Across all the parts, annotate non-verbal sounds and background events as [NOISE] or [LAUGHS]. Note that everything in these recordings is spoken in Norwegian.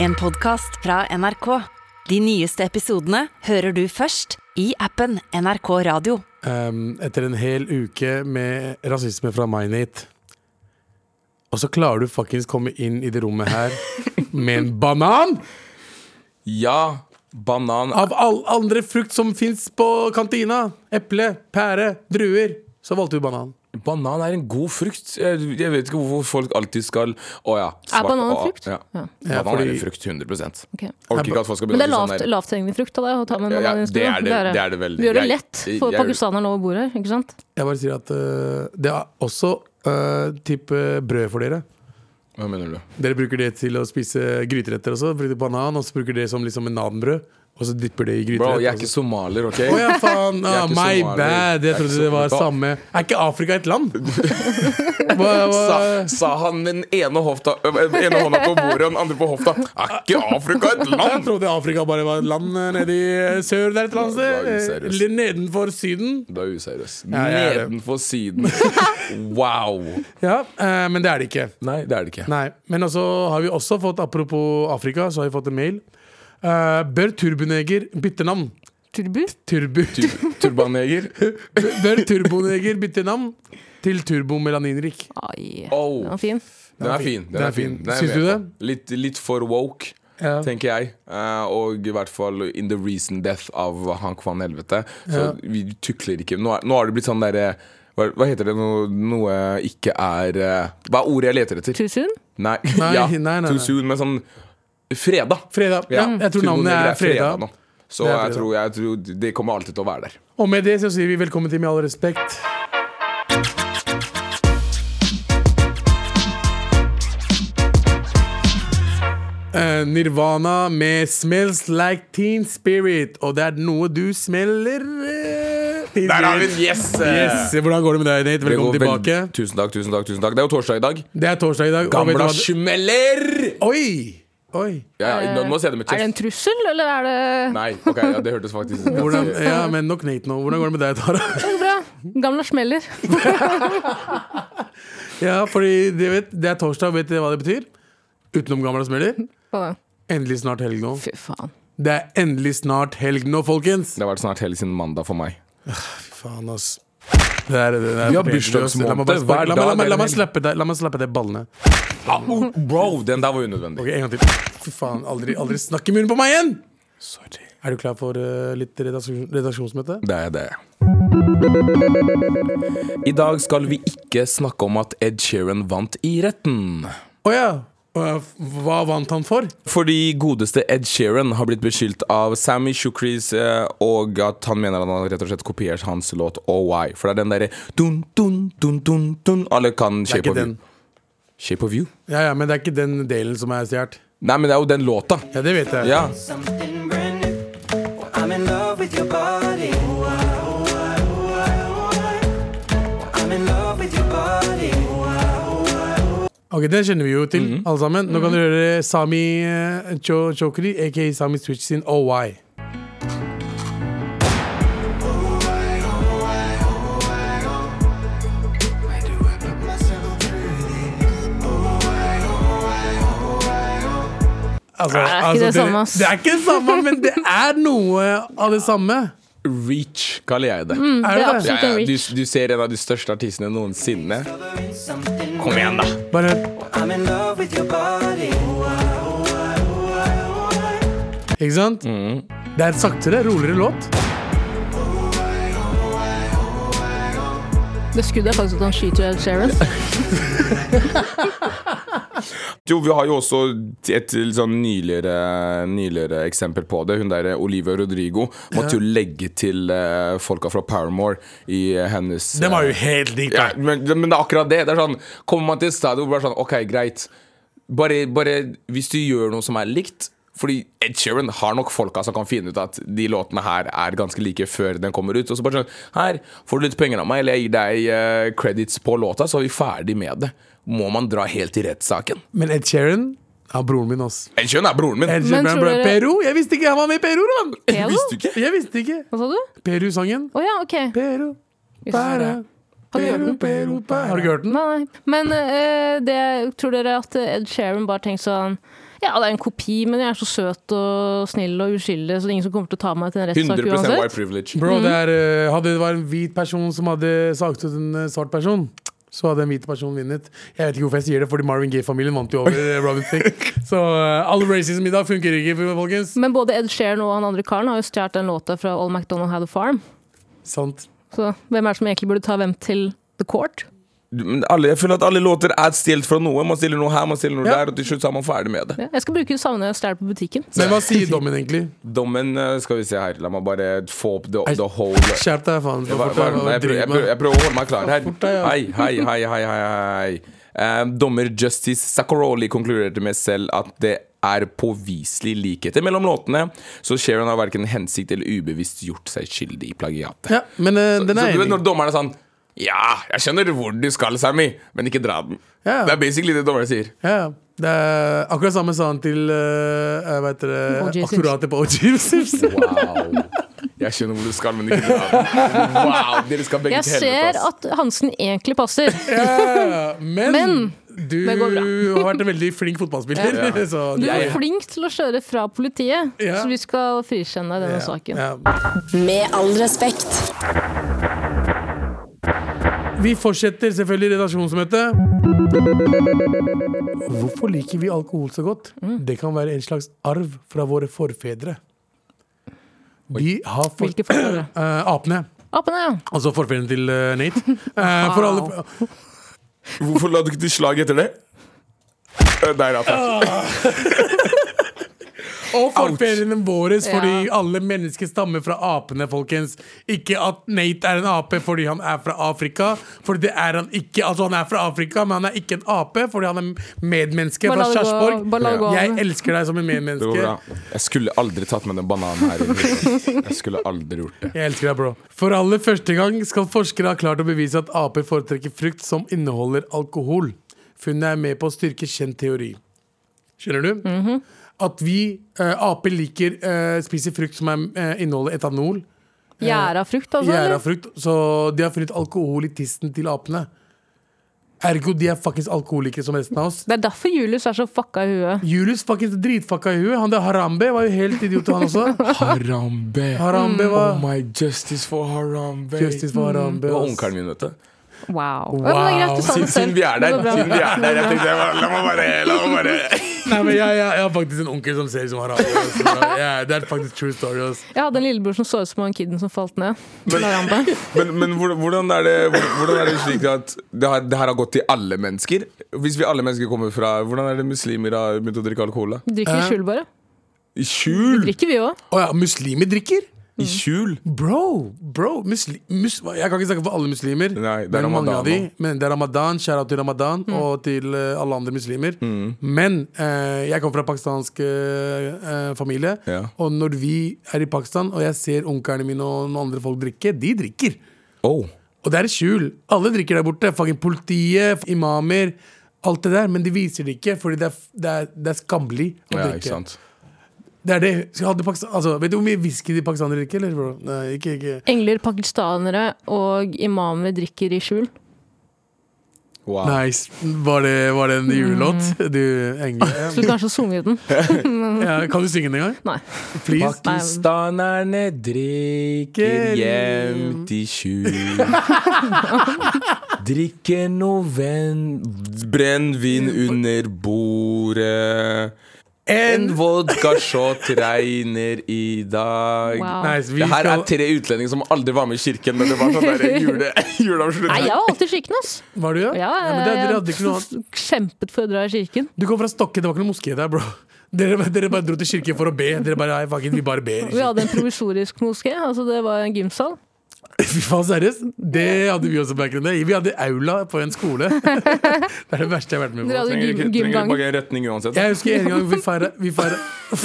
En podcast fra NRK. De nyeste episodene hører du først i appen NRK Radio. Ehm, etter en hel uke med rasisme fra Mainit. Og så klarer du fuckings komme inn i det rommet her med en banan! Ja, banan Av all andre frukt som fins på kantina. Eple, pære, druer. Så valgte du banan. Banan er en god frukt. Jeg jeg vet ikke hvorfor folk alltid skal Å ja. Er banan en å, frukt? Ja. Ja, Ja, Banan er fordi- en frukt, 100 Orker ok. ikke at folk skal Men det er begynne å si lavt, sånn der. lavthengende frukt av deg å ta med en Ja, ja, banan i det er skolen. det- det er det veldig. Du gjør det Jeg- lett for jeg- pakistanerne over bordet, ikke sant? Jeg bare sier at øh, det er også øh, type brød for dere. Hva mener du? Dere bruker det til å spise gryteretter også. Bruker det banan, og så bruker dere det som liksom en naanbrød. Og så dypper det i Bro, gryterett. jeg er og så- ikke somalier, OK? Å ja, faen. er Ah, ikke my somalier. bad. Jeg Jeg er trodde ikke det var somalier. samme. Er ikke Afrika et [LAUGHS] land? Hva, hva? Sa, sa han med den ene, hofta, ø, ene hånda på bordet og den andre på hofta. Er ikke Afrika et Jeg land? trodde Afrika bare var et land eh, nede i eh, sør der et eller Det var annet sted. useriøst. Eller nedenfor Syden. Du er useriøs. Ja, jeg er det. Nedenfor siden. Wow. Ja, eh, men det er det ikke. Nei, det er det ikke. Nei. Men altså har vi også fått, apropos Afrika, så har vi fått en mail. Eh, bør turboneger bytte navn? Turbu? Turbo. Tur Turbanjeger. [LAUGHS] Bør turboneger bytte navn til turbomelaninrik? Ai, Oh. den var fin. Den er fin. Den er fin. Den er Syns jeg du med på. Litt, litt for woke, Ja. tenker jeg. Eh, og i hvert fall in the recent death av Hank van Helvete. Så Ja. vi tukler ikke. Nå, er, nå har det blitt sånn derre hva, hva heter det? Noe, noe ikke er eh, Hva er ordet jeg leter etter? Too soon? Nei, Nei, ja, nei, nei, nei. Too soon, men sånn Fredag. Fredag. Ja, jeg tror navnet Turboneger er Fredag. nå. Så Det er jeg, tror, jeg tror det kommer alltid til å være der. Og med det så sier vi velkommen til Med all respekt. Eh, Nirvana med 'Smells Like Teen Spirit'. Og det er noe du smeller eh, teen Der har vi en spirit. yes! Yes. Hvordan går det med deg, Nate? Det Velkommen går vel- tilbake. Tusen takk, tusen takk. tusen takk Det er jo torsdag i dag. Det er torsdag i dag. og vet du hva Gamla det- smeller! Oi! Oi! Ja, ja, nå, nå ser jeg det med Er det en kjeft. trussel, eller er det Nei, ok, ja, det hørtes faktisk Hvordan, [LAUGHS] ja, men nok Nate nå. Hvordan går det med deg, Tara? [LAUGHS] bra? Gamla [LAUGHS] smeller. Ja, fordi det, vet, det er torsdag, vet dere hva det betyr? Utenom gamle smeller. Hva da? Endelig snart helg nå. Fy faen. Det er endelig snart helg nå, folkens! Det har vært snart hele siden mandag for meg. Faen, ass. Det er, det er, Vi har fortjent, ass. La meg bare sparke- bursdagsmåned hver La meg- la dag, meg- det er la meg en helg. slappe deg- La meg slappe deg ballene. Bro, den der var unødvendig. Ok, En gang til. Fy faen, aldri, aldri snakk i munnen på meg igjen! Sorry. Er du klar for eh, litt redaksjon, redaksjonsmøte? Det er det. I dag skal vi ikke snakke om at Ed Sheeran vant i retten. Å ja! Å, Hva vant han for? Fordi godeste Ed Sheeran har blitt beskyldt av Sammy Shukris eh, og at han mener han har rett og slett kopiert hans låt Oh Why. For det er den derre dun, dun, dun, dun, dun. Alle kan Det er Shape ikke of You. den. Shape of You? Ja, ja, men det er ikke den delen som er stjålet. Nei, men det er jo den låta. Ja, det vet jeg. Ja. Something brand new. I'm in love with your body. Ooh, ah, ooh, ah, ooh, ah, ooh, ah. I'm in love with your body. Ooh, ah, ooh, ah, ooh, Ok, Den kjenner vi jo til, alle sammen. Nå kan du høre Sami eh, Cho Chokri, aka Sami Switch sin Oh Why. why do I put myself through this? Ooh, ah, ooh, ah, ooh, ah, ooh. Altså, Det er ikke det samme, ass. det er ikke det samme, men det er noe av det samme. Reach, kaller jeg det. Er Det er det det? absolutt en du, reach. du ser en av de største artistene noensinne. Discovering something Kom igjen, da! Bare I'm in love with your body. Ooh, ah, ooh, ah, ooh, ah, ooh, ah. Ikke sant? Det er en saktere, roligere låt. Det skuddet er faktisk at han skyter Ed Sheeran. Jo, vi har jo også et litt sånn nyligere, nyligere eksempel på det. Hun der eh, Olivia Rodrigo måtte jo legge til eh, folka fra Paramore i eh, hennes Den var eh, jo helt lik. ja, da. men, men det er akkurat det. det er sånn, kommer man til et stadium hvor det er sånn OK, greit. Bare, bare hvis du gjør noe som er likt fordi Ed Sheeran har nok folka som kan finne ut at de låtene her er ganske like før den kommer ut. Og så bare sånn Her får du litt penger av meg, eller jeg gir deg eh, credits på låta, så er vi ferdig med det. Må man dra helt til rettssaken? Men Ed Sheeran er broren min, ass. Ed Sheeran er broren min. Ed Sheeran, tror bro, dere- Peru? Jeg visste ikke han var med i Peru! Man. Peru? Visste du ikke? Jeg visste ikke. Hva sa du? Peru-sangen. Å ja, ok. Peru, Jøss. para, Har du hørt Peru, den? Peru, para. Har du ikke hørt den? Nei, nei. Men eh, det, tror dere at Ed Sheeran bare tenker sånn Ja, det er en kopi, men jeg er så søt og snill og uskyldig, så det er ingen som kommer til å ta meg til en rettssak 100 uansett. white privilege. Mm. Bro, det er, eh, hadde det vært en hvit person som hadde sagt ut en eh, svart person, så hadde en hvit person vunnet. Jeg vet ikke hvorfor jeg sier det, fordi Marvin Gaye-familien vant jo over eh, Robin [LAUGHS] Thicke. Så eh, all racism i dag funker ikke, folkens. Men både Ed Sheeran og han andre karen har jo stjålet den låta fra All MacDonald Had a Farm. Sant. Så hvem er det som egentlig burde ta hvem til the court? Du, men Alle, jeg føler at alle låter er stjålet fra noe. Man stiller noe her, man stiller noe Ja. der, og til slutt så er man ferdig med det. Ja, Jeg skal bruke det samme når jeg stjeler på butikken. Men hva [LAUGHS] sier dommen egentlig? Dommen eh, skal vi se her. La meg bare få opp the, Ei. the whole Skjerp deg, faen. Hva- hva- Hvorfor tar du nei, og jeg, prøver, driver jeg, prøver, med- jeg prøver å holde meg klar her. deg, ja. Hei, hei, hei, hei, hei, hei. Eh, dommer Justice Sakoroli konkluderte med selv at det er påviselig likheter mellom låtene, så Sharon har verken hensikt eller ubevisst gjort seg skyldig i plagiatet. Ja, men eh, Så den er du vet når enig. dommeren er sånn Ja, jeg skjønner hvor du skal, Sammy, men ikke dra den. Ja. Det er basically det dommeren [LAUGHS] sier. Ja, ja. det er akkurat samme sa han til eh, jeg vet det, O.J. Simpson. aktoratet på OJ [LAUGHS] Simpson. Wow. Jeg skjønner hvor du skal, men ikke dra den. Wow, dere skal begge Jeg til helvete. ser ass. at Hansen egentlig passer. Ja, men, Men, du det går har vært en veldig flink fotballspiller. Ja. [LAUGHS] så Du jeg- er flink til å kjøre fra politiet, Ja. så vi skal frikjenne deg i denne Ja, saken. ja. Med all respekt. Vi fortsetter selvfølgelig redaksjonsmøtet. Hvorfor liker vi alkohol så godt? Mm. Det kan være en slags arv fra våre forfedre. De har for... Hvilke forfedre? Eh, apene. Apene, ja. Altså forfedrene til eh, Nate. [LAUGHS] Eh, for alle... Hvorfor la du ikke til slag etter det? Eh, Der, ja, takk. Og forfedrene våre, fordi Ja. alle mennesker stammer fra apene, folkens. Ikke at Nate er en ape fordi han er fra Afrika. For det er han ikke. Altså, han er fra Afrika, men han er ikke en ape fordi han er medmenneske Bare fra la det gå- bare la det Sarpsborg. gå. Jeg elsker deg som en Det går medmenneske. bra. Jeg skulle aldri tatt med den bananen her. inn. Jeg skulle aldri gjort det. Jeg elsker deg, bro. For aller første gang skal forskere ha klart å bevise at aper foretrekker frukt som inneholder alkohol. Funnet er med på å styrke kjent teori. Skjønner du? At vi eh, aper liker eh, spiser frukt som er, eh, inneholder etanol. Gjæra frukt, altså. Gjæra eller? frukt. Så de har funnet alkohol i tissen til apene. Ergo de er fuckings alkoholikere som resten av oss. Det er derfor Julius er så fucka i huet. Julius fuckings dritfucka i huet. Han der Harambe var jo helt idiot, han [LAUGHS] også. Harambe. Oh Harambe var my justice for Harambe. Justice for Harambe. Det var ass. onkelen min, vet du. Wow. Ja, men det er greit, du sa det Siden, siden vi er der. Det går bra. Siden vi er der jeg tenkte, jeg bare, La meg bare La meg bare Nei, men jeg, jeg, jeg har faktisk en onkel som ser ut som Harambe. ass. altså. Ja, det er faktisk true story. altså. Ass. Jeg hadde en lillebror som så ut som han kiden som falt ned. Men, men hvor- hvordan, er det, hvor- hvordan er det slik at det her, det her har gått til alle mennesker? Hvis vi alle mennesker kommer fra Hvordan er det muslimer har begynt å drikke alkohol? da? Vi drikker i skjul, bare. I skjul! Drikker vi òg. Å ja, muslimer drikker? I skjul! Bro, bro musli, mus, Jeg kan ikke snakke for alle muslimer, Nei, det er men mange ramadan av de. nå. Men det er ramadan. Shout out til ramadan og til eh, alle andre muslimer. Mm. Men eh, jeg kommer fra pakistansk eh, eh, familie, Ja. og når vi er i Pakistan og jeg ser onklene mine og noen andre folk drikke, de drikker. Oh. Og det er i skjul. Alle drikker der borte. Fucking politiet, imamer, alt det der. Men de viser det ikke, fordi det er, det er, det er skammelig å Ja, ikke drikke. sant. Det er det. Så hadde Pakistan, altså, vet du hvor mye whisky de pakistanere drikker? Eller, bro? Nei, ikke, ikke. Engler, pakistanere og imamer drikker i skjul. Wow. Nice. Var det, var det Mm. en julelåt? Du, Engel. Skulle kanskje ha [LAUGHS] sunget den. Ja, kan du synge den en gang? Nei. Please? Pakistanerne drikker gjemt i [LAUGHS] skjul. Drikker noven brennevin under bordet. En vodkashot regner i dag. Wow. Nice, vi Det her skal, er tre utlendinger som aldri var med i kirken. Men det var sånn der [LAUGHS] jule, [LAUGHS] Nei, juleavslutning. jeg var alltid skikken, ass. var du, ja? Ja, men det, dere jeg hadde ikke noe annet. kjempet for å dra i kirken. Du kom fra Stokke, det var ikke noe moské der, bro. Dere, dere bare dro til kirken for å be. Dere bare, nei, fucking, vi bare ber. Vi hadde en provisorisk moské. Altså det var en gymsal. [LAUGHS] Fy faen, seriøst? Det hadde vi også back in the day. Vi hadde aula på en skole. [LAUGHS] Det er det verste jeg har vært med Dere på. hadde Trenger ikke- gym- trenger ikke gymgang. bare en retning uansett. Jeg husker en [LAUGHS] gang vi feira vi feira- [LAUGHS]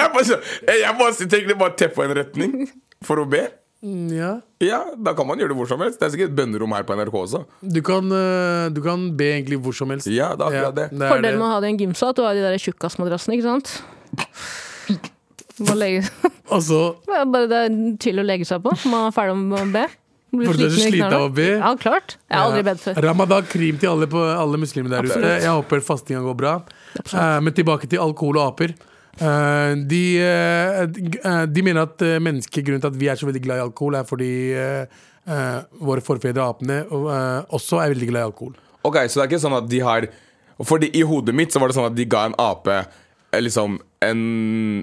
Jeg, bare, jeg, jeg bare, trenger bare teppe en retning for å be. Ja. Ja, da kan man gjøre det hvor som helst. Det er sikkert et bønnerom her på NRK også. Du kan, øh, du kan be egentlig hvor som helst. Ja, det er akkurat det. er Fordelen det. med å ha det i en gymsal, at du har de der tjukkasmadrassene, ikke sant? Bare legge [LAUGHS] Og så Det er Bare det er chill å legge seg på. Man er ferdig med å be. Blir For du er så sliten i sliten knærne. av å be? Ja, klart. Jeg har aldri bedt før. Ramadan krim til alle, på, alle muslimer der ute. Jeg håper fastinga går bra. Eh, men tilbake til alkohol og aper. Eh, de, eh, g- eh, de mener at eh, mennesket grunnen til at vi er så veldig glad i alkohol, er fordi eh, eh, våre forfedre apene og, eh, også er veldig glad i alkohol. Ok, så det er ikke sånn at de har Fordi i hodet mitt så var det sånn at de ga en ape eh, Liksom en,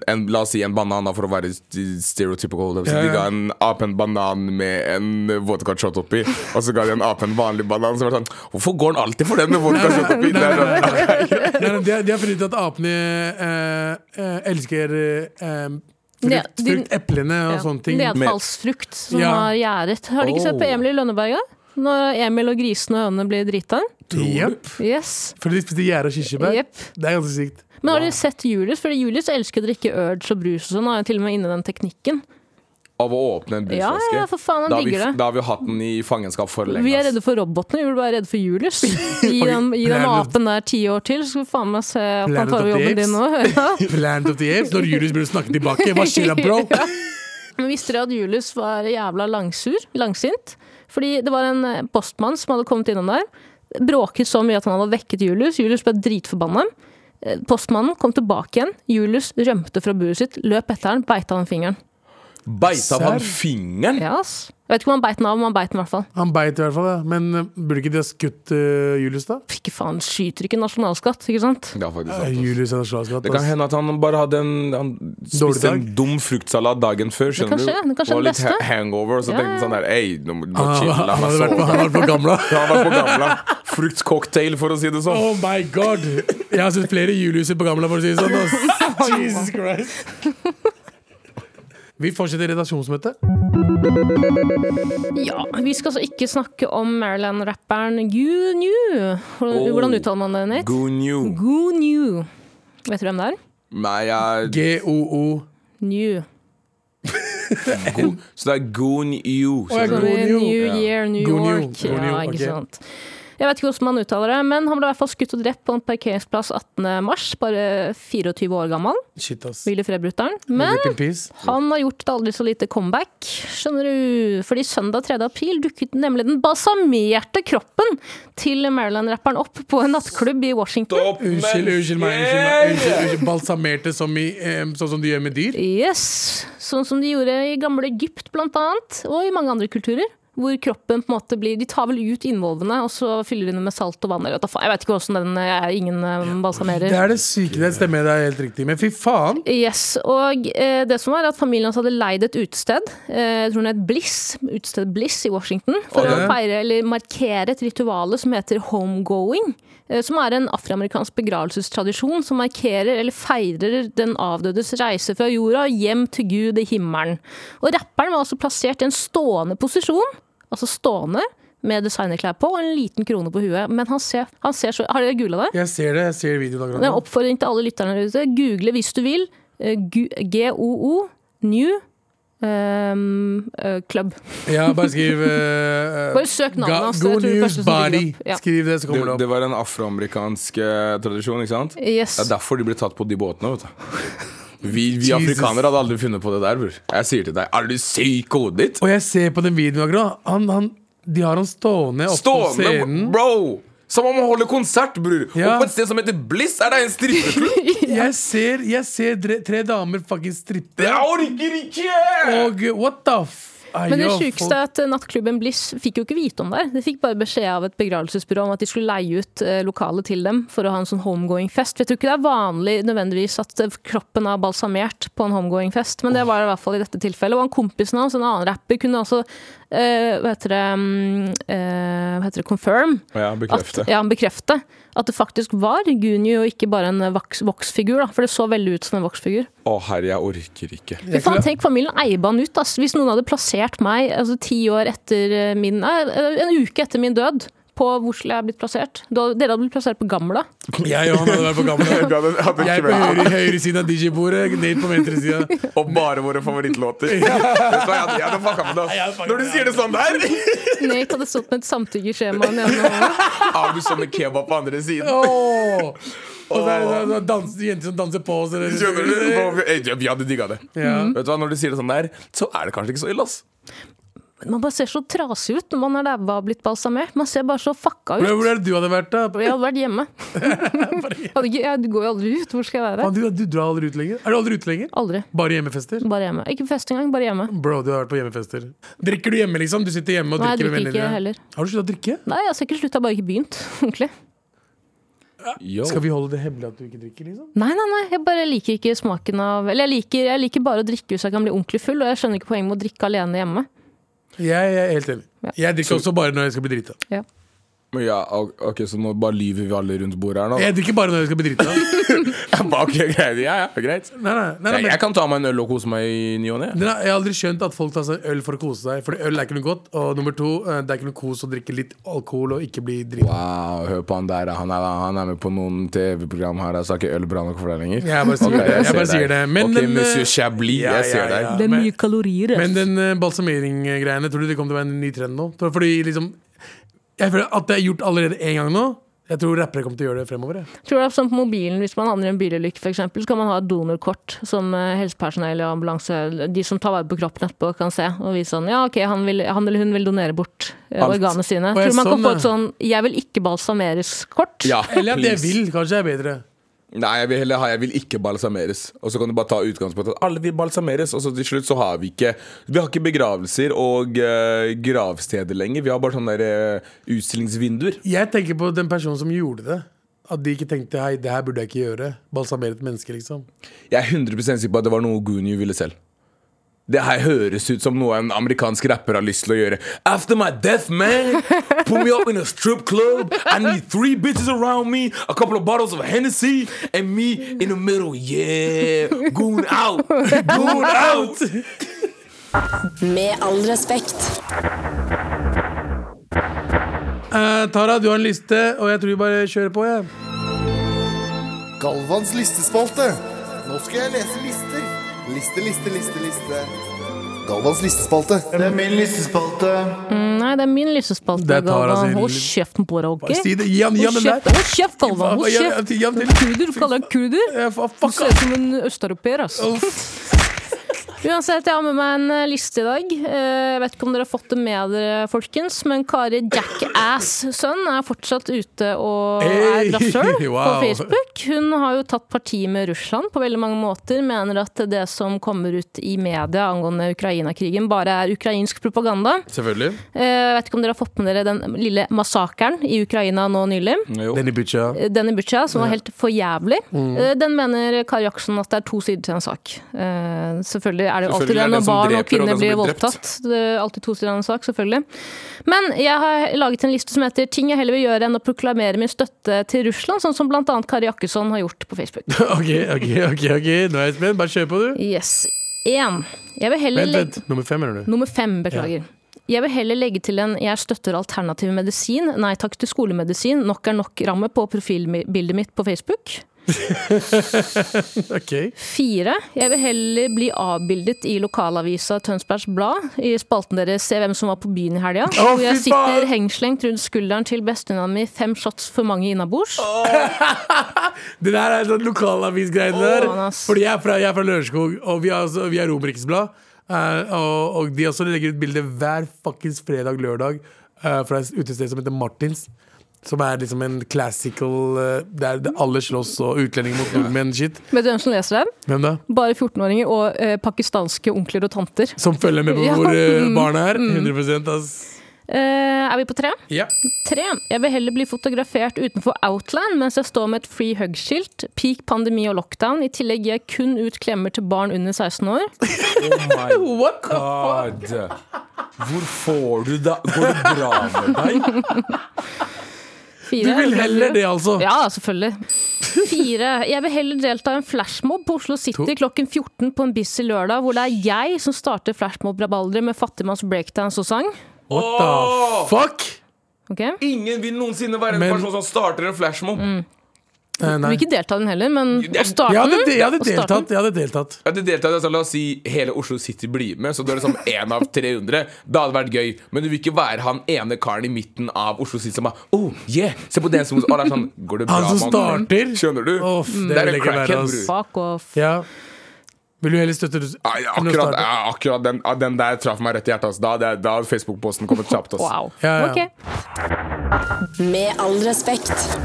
en La oss si en banan da, for å være st- stereotypical holdt jeg på Ja, å si. ja. De ga en ape en banan med en vodka shot oppi Og så ga de en ape en vanlig banan Så var det sånn, hvorfor går den alltid for den med vodka shot oppi? Det er sånn, Nei, nei, de, har, de har funnet ut at apene eh, eh, elsker eh, Ne- frukt, de- frukt, eplene og sånne ting. Nedfallsfrukt som Ja. har gjerdet. Har du ikke sett på Oh. Emil i Lønneberga? Når Emil og grisene og hønene blir drita? Jep, Yes. fordi de spiser gjære og kirsebær. Jep. Det er ganske sykt. Men har dere sett Julius? Fordi Julius elsker å drikke Urge og brus og sånn. Han er jo til og med inne i den teknikken. Av å åpne en Ja, brusflaske ja, for faen, han da, har vi, digger det. da har vi hatt den i fangenskap for lenge Vi er ass. redde for robotene, vi burde være redde [LAUGHS] for Julius. Gi den, gi den apen der ti år til, så skal vi faen meg se om han tar over jobben din nå. [LAUGHS] Ja. Plant of the Apes, når Julius begynner å snakke tilbake. Hva skjer da, bro? Men visste dere at Julius var jævla langsur? Langsint? Fordi det var en eh, postmann som hadde kommet innom der. Bråket så mye at han hadde vekket Julius. Julius ble dritforbanna. Eh, Postmannen kom tilbake igjen. Julius rømte fra buret sitt, løp etter han, beita han fingeren. Beit av han Serr? fingeren Ja, ass. Jeg vet ikke om han beit den av, men han beit den i hvert fall. Han beit i hvert fall, da. men eh, burde ikke de ha skutt eh, Julius, da? Ikke faen, skyter ikke nasjonalskatt, ikke sant? Det er faktisk Eh, sant ass. Julius er nasjonalskatt. Det kan ass. hende at han bare hadde en Han Dårlig spiste dag. en dum fruktsalat dagen før. kan Skjønner du? skje, det kan skje var det litt ha- beste. hangover, og så Ja, tenkte han ja. sånn der Ei, nå må må Han, chille, han, [LAUGHS] la han meg hadde vært på, sove. han hadde vært på gamla. Han var på gamla. Fruktcocktail, for å si det [LAUGHS] sånn. Oh my god! Jeg har sett flere Juliuser på gamla, for å si det sånn. ass. [LAUGHS] Jesus Christ. Vi fortsetter redaksjonsmøtet. Ja, Vi skal altså ikke snakke om Maryland-rapperen Goo New. Hvordan, Oh. hvordan uttaler man det, Nate? Good new. Goo New. Vet du hvem det er? Nei, jeg GOO. New. god. Så det er good Å, new. jeg skjønner du? Som Sånn i New. New Year, New Go New. York. Go New, Ja, ok. ikke sant. Jeg vet ikke hvordan man uttaler det, men han ble i hvert fall skutt og drept på en parkeringsplass 18.3, bare 24 år gammel. Shit, ass. Willy Fred-bruteren. Men Rip in peace. han har gjort et aldri så lite comeback, skjønner du. Fordi søndag 3. april dukket nemlig den balsamerte kroppen til Maryland-rapperen opp på en nattklubb i Washington. Stopp, men- Unnskyld, unnskyld meg. Unnskyld meg. Unnskyld, unnskyld. Balsamerte som i, eh, sånn som de gjør med dyr? Yes, sånn som de gjorde i gamle Egypt blant annet, og i mange andre kulturer. Hvor kroppen på en måte blir, De tar vel ut innvolvene og så fyller de den med salt og vann. Eller, hva faen, jeg vet ikke hvordan den Jeg er ingen eh, Det balsamerer. er det syke. Det stemmer, det er helt riktig. Men fy faen! Yes, og eh, det som var at Familien hans hadde leid et utested, eh, jeg tror det het Bliss, utested Bliss i Washington, for Ok. å feire eller markere et rituale som heter homegoing. eh, Som er en afroamerikansk begravelsestradisjon som markerer eller feirer den avdødes reise fra jorda og hjem til Gud i himmelen. Og rapperen var altså plassert i en stående posisjon, altså stående, med designerklær på og en liten krone på huet. Men han ser, han ser så Har dere googla det? Jeg ser det. Jeg ser videoen Det akkurat er en nå. oppfordring til alle lytterne der ute. Google hvis du vil. eh, Gu- GOO New ehm, eh, Club. Ja, bare skriv eh, [LAUGHS] Bare søk navnet ga- hans, det Good tror jeg news første som dukker body. opp. Ja. Skriv det, så kommer Det, det opp. det var en afroamerikansk eh, tradisjon, ikke sant? Yes. Det er derfor de ble tatt på de båtene, vet du. Vi, vi Jesus. afrikanere hadde aldri funnet på det der, bror. Jeg sier til deg, er du syk i hodet ditt? Og jeg ser på den videoen akkurat. Han, han, de har han stående oppe på Stående, scenen. bro! Som om å holde konsert, bror! Ja. Og på et sted som heter Bliss, er det en strippeklubb! Jeg ser, jeg ser dre, tre damer fucking strippe. Jeg orker ikke! Og eh, what the f... Ai, Men det jo, sjukeste folk- er at eh, nattklubben Bliss fikk jo ikke vite om det. her. De fikk bare beskjed av et begravelsesbyrå om at de skulle leie ut eh, lokalet til dem for å ha en sånn homegoing-fest. For Jeg tror ikke det er vanlig nødvendigvis at eh, kroppen er balsamert på en homegoing-fest, men det var det i hvert fall i dette tilfellet. Og han kompisen hans, en annen rapper, kunne altså eh, hva heter det, mm, eh, hva heter det confirm Ja, bekrefte. At, ja, bekrefte at det faktisk var Guni og ikke bare en eh, voks- voksfigur, da, for det så veldig ut som en voksfigur. Å herre, jeg orker ikke. Fy faen, tenk familien eier han ut. Ass. Hvis noen hadde plassert meg altså, ti år etter eh, min nei, eh, En uke etter min død på hvor skulle jeg blitt plassert? Da, dere hadde blitt plassert på [LAUGHS] Gamla. Jeg og han hadde vært på gamle. [LAUGHS] Jeg på høyre, høyre siden av DJ-bordet, Nate på venstre siden. Og bare våre favorittlåter. Vet du hva, jeg hadde- jeg hadde fucka med det. ass. Når du sier det sånn der, Nate hadde stått med et samtykkeskjema i den ene hånda. har du sånne kebab på andre siden. Åh! Og så er det så- så danser, jenter som danser på oss. eller- Skjønner du? Nå- Vi hadde digga det. Ja. Vet du hva, Når du sier det sånn der, så er det kanskje ikke så ille, ass. Men man bare ser så trasig ut når man er daua og blitt balsamert. Man ser bare så fucka ut. Hvor hvor er det du hadde vært, da? [LAUGHS] Jeg hadde vært [LAUGHS] hjemme. Hadde ikke, jeg går jo aldri ut. Hvor skal jeg være? Faen, du, du drar aldri ut lenger? Er du aldri ute lenger? Aldri. Bare hjemmefester? Bare hjemme. Ikke fest engang, bare hjemme. Bro, du har vært på hjemmefester. Drikker du hjemme, liksom? Du sitter hjemme og Nei, jeg drikker drikker ikke heller. Har du sluttet å drikke? Nei, jeg har ikke slutta, bare ikke begynt, [LAUGHS] ordentlig. Yo. Skal vi holde det hemmelig at du ikke drikker, liksom? Nei, nei, nei, jeg bare liker ikke smaken av Eller jeg liker, jeg liker bare å drikke hvis jeg kan bli ordentlig full, og jeg skjønner ikke poenget med å drikke alene hjemme. Jeg, jeg er helt enig. Ja. Jeg drikker også bare når jeg skal bli drita. Ja. Men ja, ok, ok, Så nå bare lyver vi alle rundt bordet her nå? Jeg drikker bare når jeg skal bli drita. Jeg bare, [LAUGHS] ok, greit, ja, ja, greit Nei, nei, nei, nei, jeg, men- jeg kan ta meg en øl og kose meg i ny og ne. Den har- Jeg har aldri skjønt at folk tar seg øl for å kose seg. Fordi øl er ikke noe godt. Og nummer to, eh, det er ikke noe kos å drikke litt alkohol og ikke bli drita. Wow, hør på han der. Han er, han er med på noen TV-program her. Jeg sa ikke øl bra nok for deg lenger. Jeg bare sier Ok, det. Jeg ser bare sier deg. det. Men ok, den, eh, monsieur Chablis, ja, ja, jeg ser deg. ja. Det er Men- mye kalorier. Men den eh, balsamering-greiene, tror du det kommer til å være en ny trend nå? Tror- Fordi liksom Jeg føler at det er gjort allerede én gang nå. Jeg tror rappere kommer til å gjøre det fremover. jeg. Tror du at sånn på mobilen, Hvis man havner i en bilulykke, for eksempel, så kan man ha et donorkort som eh, helsepersonell og ambulanse, de som tar vare på kroppen etterpå, kan se og vise sånn Ja, OK, han, vil, han eller hun vil donere bort eh, Alt. organene sine. Å, ja, Tror du man sånn, kan få et ja. sånn 'jeg vil ikke balsameres'-kort? Ja, Eller at jeg Ah, please. vil, kanskje er bedre. Nei, jeg vil heller ha 'jeg vil ikke balsameres'. Og så kan du bare ta utgangspunkt i at alle vil balsameres, og så til slutt så har vi ikke Vi har ikke begravelser og eh, gravsteder lenger. Vi har bare sånne der, eh, utstillingsvinduer. Jeg tenker på den personen som gjorde det. At de ikke tenkte hei, det her burde jeg ikke gjøre. Balsamere et menneske, liksom. Jeg er 100 sikker på at det var noe Goonie ville selv. Det her høres ut som noe en amerikansk rapper har lyst til å gjøre. After my death, man! Put me up in a strip club. I need three bitches around me. A couple of bottles of Hennessy. And me in the middle. Yeah! Goon out! Goon out! Med all respekt. Eh, Tara, du har en liste, og jeg tror vi bare kjører på, jeg. Galvans listespalte. Nå skal jeg lese lister. Liste, liste, liste, liste. Galvans listespalte. Det er min listespalte. Nei, det er min lysespalte. Det er Tara sin- Hold kjeften på deg, OK? Bare Si det. Gi han gi han Hold den der. kjeft, hold kjeft, Galvan! Hold Ja, ja, kjeft! ja, til- Kurder, du kaller deg kurder? Ja, fa- Du Fuck ser off. ut som en østeuropeer, altså. Uansett, jeg har med meg en eh, liste i dag. Eh, Jeg vet ikke om dere har fått det med dere, folkens, men Kari Jackass-sønn er fortsatt ute og Hey, [LAUGHS] er drapsjøl på wow. Facebook. Hun har jo tatt parti med Russland på veldig mange måter. Mener at det som kommer ut i media angående Ukraina-krigen, bare er ukrainsk propaganda. Selvfølgelig. Eh, Jeg vet ikke om dere har fått med dere den lille massakren i Ukraina nå nylig Lenny Butcha. [LAUGHS] den i Butcha, som var helt for jævlig, eh, den mener Kari Jackson at det er to sider til en sak. Eh, Selvfølgelig er det jo Selvfølgelig er alltid det det den når som barn og dreper og kvinner den som blir blir drept. voldtatt. Det er alltid to sider av en sak, selvfølgelig. Men jeg har laget en liste som heter 'Ting jeg heller vil gjøre enn å proklamere min støtte til Russland', sånn som blant annet Kari Jakkesson har gjort på Facebook. [LAUGHS] Ok, ok, ok, ok, nå er jeg spent. Bare kjør på, du. Yes. Én. Jeg vil heller Vent, legge vent. Nummer fem, mener du? Nummer fem, beklager. Jeg vil heller legge til en 'jeg støtter alternativ medisin', 'nei takk til skolemedisin', 'nok er nok'-ramme på profilbildet mitt på Facebook. Mm. Ok. Fire. Jeg vil heller bli avbildet i lokalavisa Tønsbergs Blad, i spalten deres Se hvem som var på byen i helga. Å, hvor jeg fy faen! sitter hengslengt rundt skulderen til bestevenninna mi fem shots for mange innabords. Det der er sånn lokalavisgreiene der. Åh, ass. Fordi jeg er fra, jeg er fra Lørenskog, og vi har, også- vi har Romeriksblad. eh, og, og de også legger ut bilder hver fuckings fredag-lørdag eh, fra et utested som heter Martins. Som er liksom en classical eh, Der det alle slåss og utlendinger mot nordmenn-shit. Vet du hvem som leser den? Hvem da? Bare 14-åringer og eh, pakistanske onkler og tanter. Som følger med på Ja, Mm. hvor eh, barna er. 100 ass. Eh, er vi på tre? [LAUGHS] Ja. Tre. Jeg vil heller bli fotografert utenfor Outland mens jeg står med et free hug-skilt. Peak pandemi og lockdown. I tillegg gir jeg kun ut klemmer til barn under 16 år. [LAUGHS] Oh my god! Hvor får du det? Går det bra [LAUGHS] med deg? Fire. Du vil heller det, altså? [LAUGHS] Ja, selvfølgelig. Fire. Jeg vil heller delta i en flashmob på Oslo City To. klokken 14 på en busy lørdag, hvor det er jeg som starter flashmob-rabalderet med fattigmanns breakdance og sang. What the fuck? Eh, Ok? Du Ingen vil noensinne være en Men- person som starter en flashmob. Eh, nei. vil ikke delta i den heller, men å Jeg starte hadde, den jeg hadde å starte den. deltatt. Jeg hadde deltatt. Ja, det deltar, altså, La oss si hele Oslo City blir med, så du er liksom én av 300. Da hadde det vært gøy, men du vil ikke være han ene karen i midten av Oslo City som bare Oh, yeah! Se på den som Å, det er sånn Går det bra, Han som mann?» starter? Skjønner du? Mm. Åh, f- det det er vil en ikke være, crackhead, ass. bror. Fuck off. Ja. Vil du heller støtte Ja, ja, akkurat, ja, akkurat den, ja, den der traff meg rett i hjertet. ass. Da hadde jeg- da hadde Facebook-posten kommet kjapt. ass. Wow. Ja, ja. Ok. Med all respekt.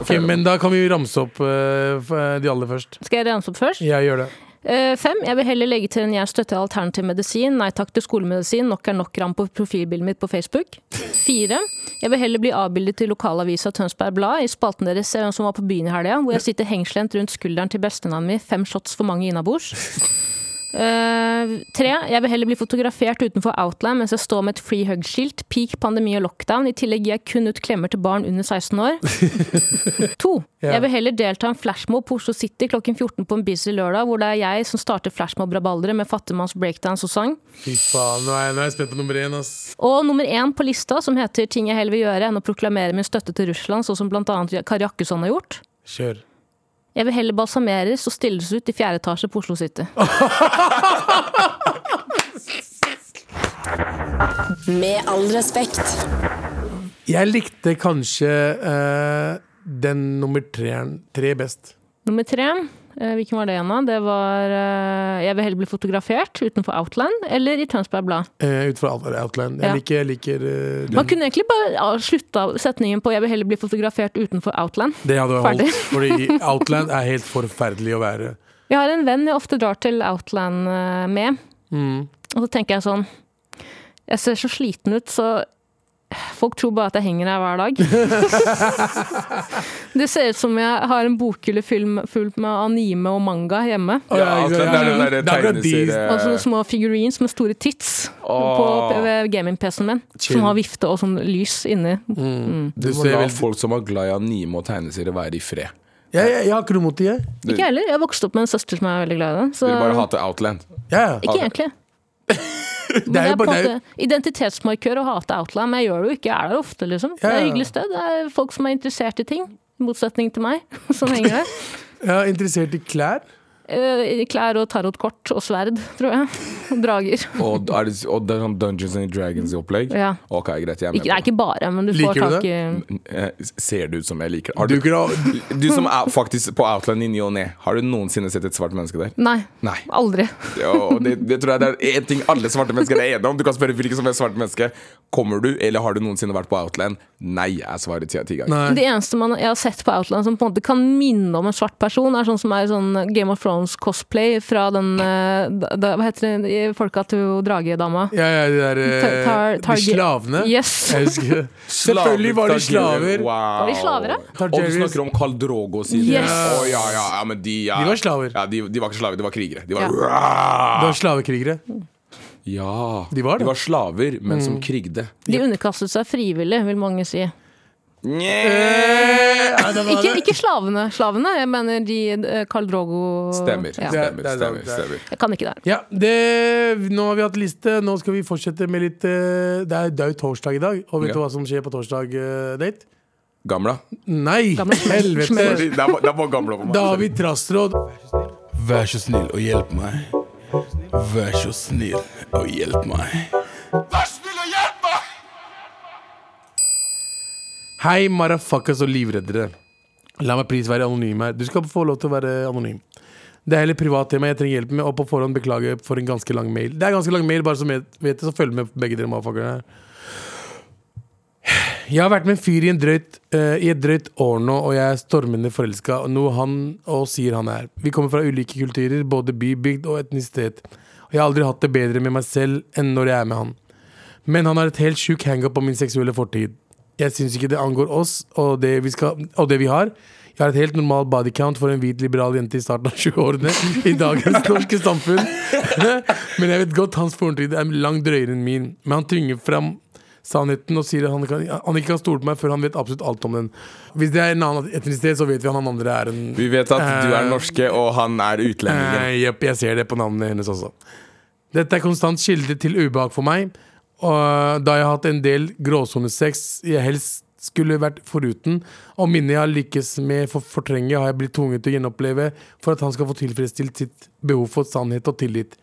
Ok, men da kan vi jo ramse opp eh, f- eh, de aller først. Skal jeg ramse opp først? Jeg gjør det. Eh, fem, jeg vil heller legge til en jeg støtter alternativ medisin. Nei takk til skolemedisin. Nok er nok ram på profilbildet mitt på Facebook. Fire, jeg vil heller bli avbildet i lokalavisa Tønsberg Blad i spalten deres eh, som var på byen i helga, hvor jeg sitter hengslendt rundt skulderen til bestenavnet mitt, fem shots for mange innabords. Eh, tre, jeg vil heller bli fotografert utenfor Outland mens jeg står med et free hug-skilt. Peak pandemi og lockdown. I tillegg gir jeg kun ut klemmer til barn under 16 år. To. Ja. Jeg vil heller delta i en flashmob på Oslo City klokken 14 på en busy lørdag, hvor det er jeg som starter flashmob-rabalderet med fattigmanns breakdance og sang. Fy faen, nå er jeg, nå er jeg spent på nummer én, ass. Og nummer én på lista, som heter 'Ting jeg heller vil gjøre enn å proklamere min støtte til Russland', sånn som bl.a. Kari Jakkesson har gjort. Kjør. Jeg vil heller balsameres og stilles ut i fjerde etasje på Oslo City. Med all respekt. Jeg likte kanskje eh, den nummer treeren tre best. Nummer tre, eh, hvilken var det igjen da? Det var eh, 'Jeg vil heller bli fotografert utenfor Outland' eller i Tønsberg Blad. eh, ut fra Outland- Outland. Jeg Ja. liker, jeg liker eh, Man den. kunne egentlig bare ja, slutta setningen på 'Jeg vil heller bli fotografert utenfor Outland'. Det hadde Ferdig. holdt. [LAUGHS] Fordi Outland er helt forferdelig å være. Jeg har en venn jeg ofte drar til Outland eh, med. Mm. Og så tenker jeg sånn Jeg ser så sliten ut, så folk tror bare at jeg henger her hver dag. [LAUGHS] det ser ut som jeg har en bokhylle full med- full med anime og manga hjemme. Ja, alt den der, den der Det er akkurat de- tegneserie- Og sånne små figurines med store tits Åh. på ved gaming-PC-en min. Chill. Som har vifte og sånn lys inni. Du må ser la vel- folk som er glad i anime og tegneserier, være i fred. Jeg, jeg, jeg har ikke noe mot de, jeg. Ikke jeg heller. Jeg vokste opp med en søster som er veldig glad i det. Så Dere bare hater Outland. Ja, ja. ikke egentlig. Men det jo er på bare- en det er jo- måte identitetsmarkør å hate Outland, men jeg gjør det jo ikke. Jeg er der ofte, liksom. Det er Ja, ja. et hyggelig sted. Det er folk som er interessert i ting. I motsetning til meg, [LAUGHS] som henger der. Jeg er interessert i klær. Eh, Klær og tarotkort og sverd, tror jeg. Og Drager. Og, er det, og det er sånn Dungeons and Dragons-opplegg? Ja. Ok, greit, jeg er med Ikke, det er ikke bare, men du Liker får du tak i på det. Eh, Ser det ut som jeg liker det? Har Du du, kunne ha du som er faktisk på Outland i ny og ne, har du noensinne sett et svart menneske der? Nei. Nei. Aldri. Og det, det tror jeg det er en ting alle svarte mennesker er enige om. Du kan spørre hvilket som helst svart menneske. Kommer du, eller har du noensinne vært på Outland? Nei, er svaret ti av ti ganger. Nei. Det eneste man, jeg har sett på Outland som på en måte kan minne om en svart person, er sånn som er i sånn Game of Thrones-cosplay fra den eh, da, da- Hva heter det? i Folka til dragedama. [LAUGHS] Ja, ja, de der eh, Tar- tar- De slavene. Yes. [LAUGHS] Jeg husker [LAUGHS] Selvfølgelig var de slaver. Wow. Var de slaver, ja? Og du snakker om Carl Drogo sine. Yes. Å, ja, ja, ja, men de, ja. De var slaver. Ja, de, de var ikke slaver, de var krigere. De Ja. var, ja. Det var slavekrigere. De var det. Mm. slaver, men som krigde. De underkastet seg frivillig, vil mange si. Ja, Eh, det var Ikke, det. ikke slavene. Slavene, jeg mener de eh, Karl Drogo Stemmer. Ja. Det er- Stemmer, det er- stemmer, det er- stemmer. Jeg kan ikke det her. Ja, det, nå har vi hatt liste. Nå skal vi fortsette med litt eh, Det er, det er jo torsdag i dag, og vet Ja. du hva som skjer på torsdag, eh, Date? Gamla? Nei! Gamle smør. Helvete! Smør. Det er bare- det er bare gamla på meg. Da har vi trassråd. Vær så snill og hjelp meg. Vær så snill og hjelp meg. Hei, marafuckers og livreddere. La meg pris være anonym her. Du skal få lov til å være anonym. Det er heller privat tema jeg trenger hjelp med, og på forhånd beklager jeg for en ganske lang mail. Det er ganske lang mail, bare som jeg vet det, så følg med begge dere motherfuckerne her. Jeg har vært med en fyr i, en drøyt, eh, i et drøyt år nå, og jeg er stormende forelska, og noe han og sier han er. Vi kommer fra ulike kulturer, både by, bygd og etnisitet. Og jeg har aldri hatt det bedre med meg selv enn når jeg er med han. Men han har et helt sjuk hangup om min seksuelle fortid. Jeg syns ikke det angår oss og det vi, skal, og det vi har. Jeg har et helt normal bodycount for en hvit liberal jente i starten av 20-årene i dagens norske samfunn. [LAUGHS] Men jeg vet godt hans fortid er langt drøyere enn min. Men han tvinger fram sannheten og sier at han, kan, han ikke kan stole på meg før han vet absolutt alt om den. Hvis det er en annen etnisitet, så vet vi at han andre er en Vi vet at du er norske, og han er utlendingen. Eh, Jepp, jeg ser det på navnet hennes også. Dette er konstant kilde til ubehag for meg, og da jeg har hatt en del gråsonesex jeg helst skulle vært foruten, og minnet jeg har lykkes med å fortrenge, har jeg blitt tvunget til å gjenoppleve for at han skal få tilfredsstilt sitt behov for sannhet og tillit.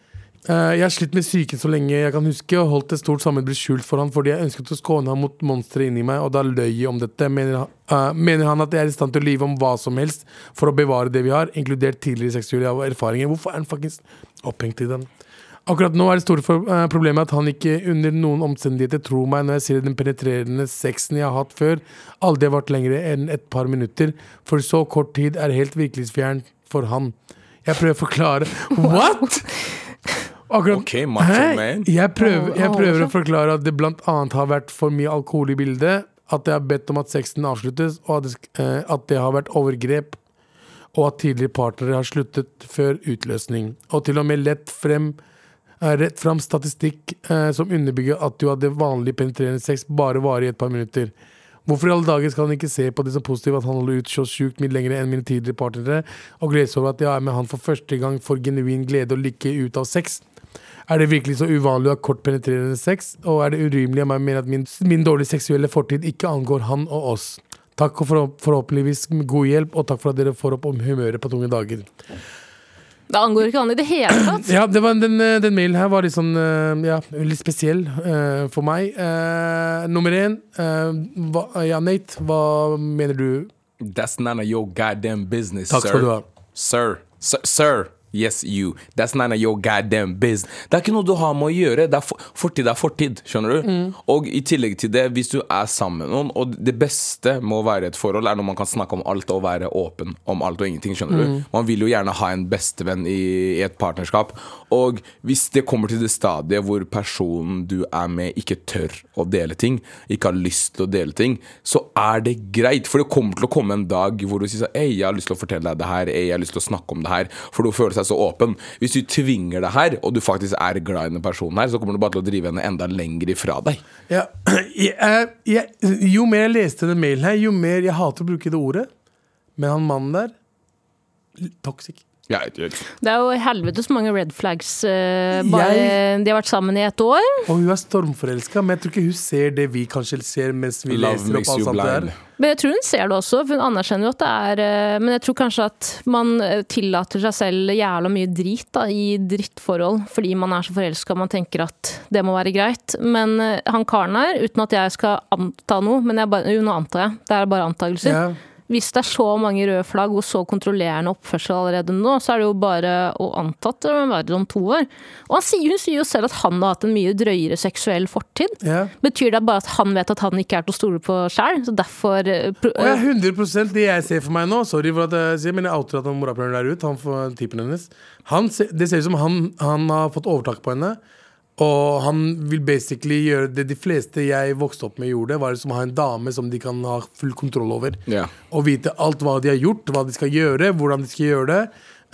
Eh, jeg har slitt med psyken så lenge jeg kan huske, og holdt et stort sammenbrudd skjult for han fordi jeg ønsket å skåne ham mot monsteret inni meg, og da løy jeg om dette. Mener han, eh, mener han at jeg er i stand til å lyve om hva som helst for å bevare det vi har, inkludert tidligere seksuelle erfaringer? Hvorfor er han fuckings opphengt i den? Akkurat nå er det store for, eh, problemet at han ikke under noen omstendigheter tror meg når jeg sier den penetrerende sexen jeg har hatt før, aldri har vært lengre enn et par minutter, for så kort tid er helt virkelighetsfjern for han. Jeg prøver å [LAUGHS] forklare What?! Akkurat, Ok, macho Hæ? man. Jeg prøver, jeg Alle prøver å seg. forklare at det blant annet har vært for mye alkohol i bildet, at jeg har bedt om at sexen avsluttes, og at det, sk- eh, at det har vært overgrep, og at tidligere partnere har sluttet før utløsning. Og til og med lett frem eh, rett fram statistikk eh, som underbygger at du hadde vanlig penetrerende sex bare varer i et par minutter. Hvorfor i alle dager skal han ikke se på det som positivt at han holder ut så sjukt mye lenger enn mine tidligere partnere, og glede seg over at jeg er med han for første gang for genuin glede og lykke ut av sex? Er det virkelig så uvanlig å ha kort penetrerende sex, og er det urimelig av meg å mene at min, min dårlige seksuelle fortid ikke angår han og oss? Takk og for, forhåpentligvis god hjelp, og takk for at dere får opp om humøret på tunge dager. Det angår ikke han i det hele [CLEARS THROAT] tatt. Ja, det var, den, eh, den mailen her var litt sånn eh, ja, litt spesiell eh, for meg. Eh, nummer én eh, hva, Ja, Nate, hva mener du? That's none of your goddamn business, Takk sir. skal du ha. Sir. Sir. sir. Yes, you. That's none of your goddamn business. Det er ikke noe du har med å gjøre. Det er for, fortid er fortid, skjønner du? Og i tillegg til det, hvis du er sammen med noen, og det beste med å være i et forhold, er når man kan snakke om alt og være åpen om alt og ingenting, skjønner du? Man vil jo gjerne ha en bestevenn i, i et partnerskap. Og hvis det kommer til det stadiet hvor personen du er med, ikke tør å dele ting, ikke har lyst til å dele ting, så er det greit. For det kommer til å komme en dag hvor du sier sånn Ei, jeg har lyst til å fortelle deg det her. Ei, jeg har lyst til å snakke om det her. For du føler seg så åpen. Hvis du tvinger det her, og du faktisk er glad i denne personen her, så kommer du bare til å drive henne enda lenger ifra deg. Ja, [CLEARS THROAT] jeg, jeg, jo mer jeg leste den mailen her, jo mer Jeg hater å bruke det ordet, men han mannen der l- Toxic. Ja, jeg- Det er jo helvetes mange red flags. eh, bare, Jeg- De har vært sammen i ett år. Og hun er stormforelska, men jeg tror ikke hun ser det vi kanskje ser mens vi Love leser makes opp alt you sånt blind. der. Men jeg tror hun ser det også, for hun anerkjenner jo at det er eh, Men jeg tror kanskje at man eh, tillater seg selv jævla mye drit da, i drittforhold, fordi man er så forelska og man tenker at det må være greit. Men eh, han karen her, uten at jeg skal anta noe, men jeg bare, jo, nå antar jeg, det er bare antakelser. Ja. Hvis det er så mange røde flagg og så kontrollerende oppførsel allerede nå, så er det jo bare å anta at det vil være det om to år. Og han sier, hun sier jo selv at han har hatt en mye drøyere seksuell fortid. Ja. Betyr det bare at han vet at han ikke er til å stole på sjæl? Så derfor eh, pro- Og jeg er 100 det jeg ser for meg nå Sorry for at jeg sier, men jeg outer at han morapuleren der ute. Han får typen hennes han, ser- Det ser ut som han, han har fått overtak på henne. Og han vil basically gjøre det de fleste jeg vokste opp med gjorde, var liksom å ha en dame som de kan ha full kontroll over. Ja. Og vite alt hva de har gjort, hva de skal gjøre, hvordan de skal gjøre det.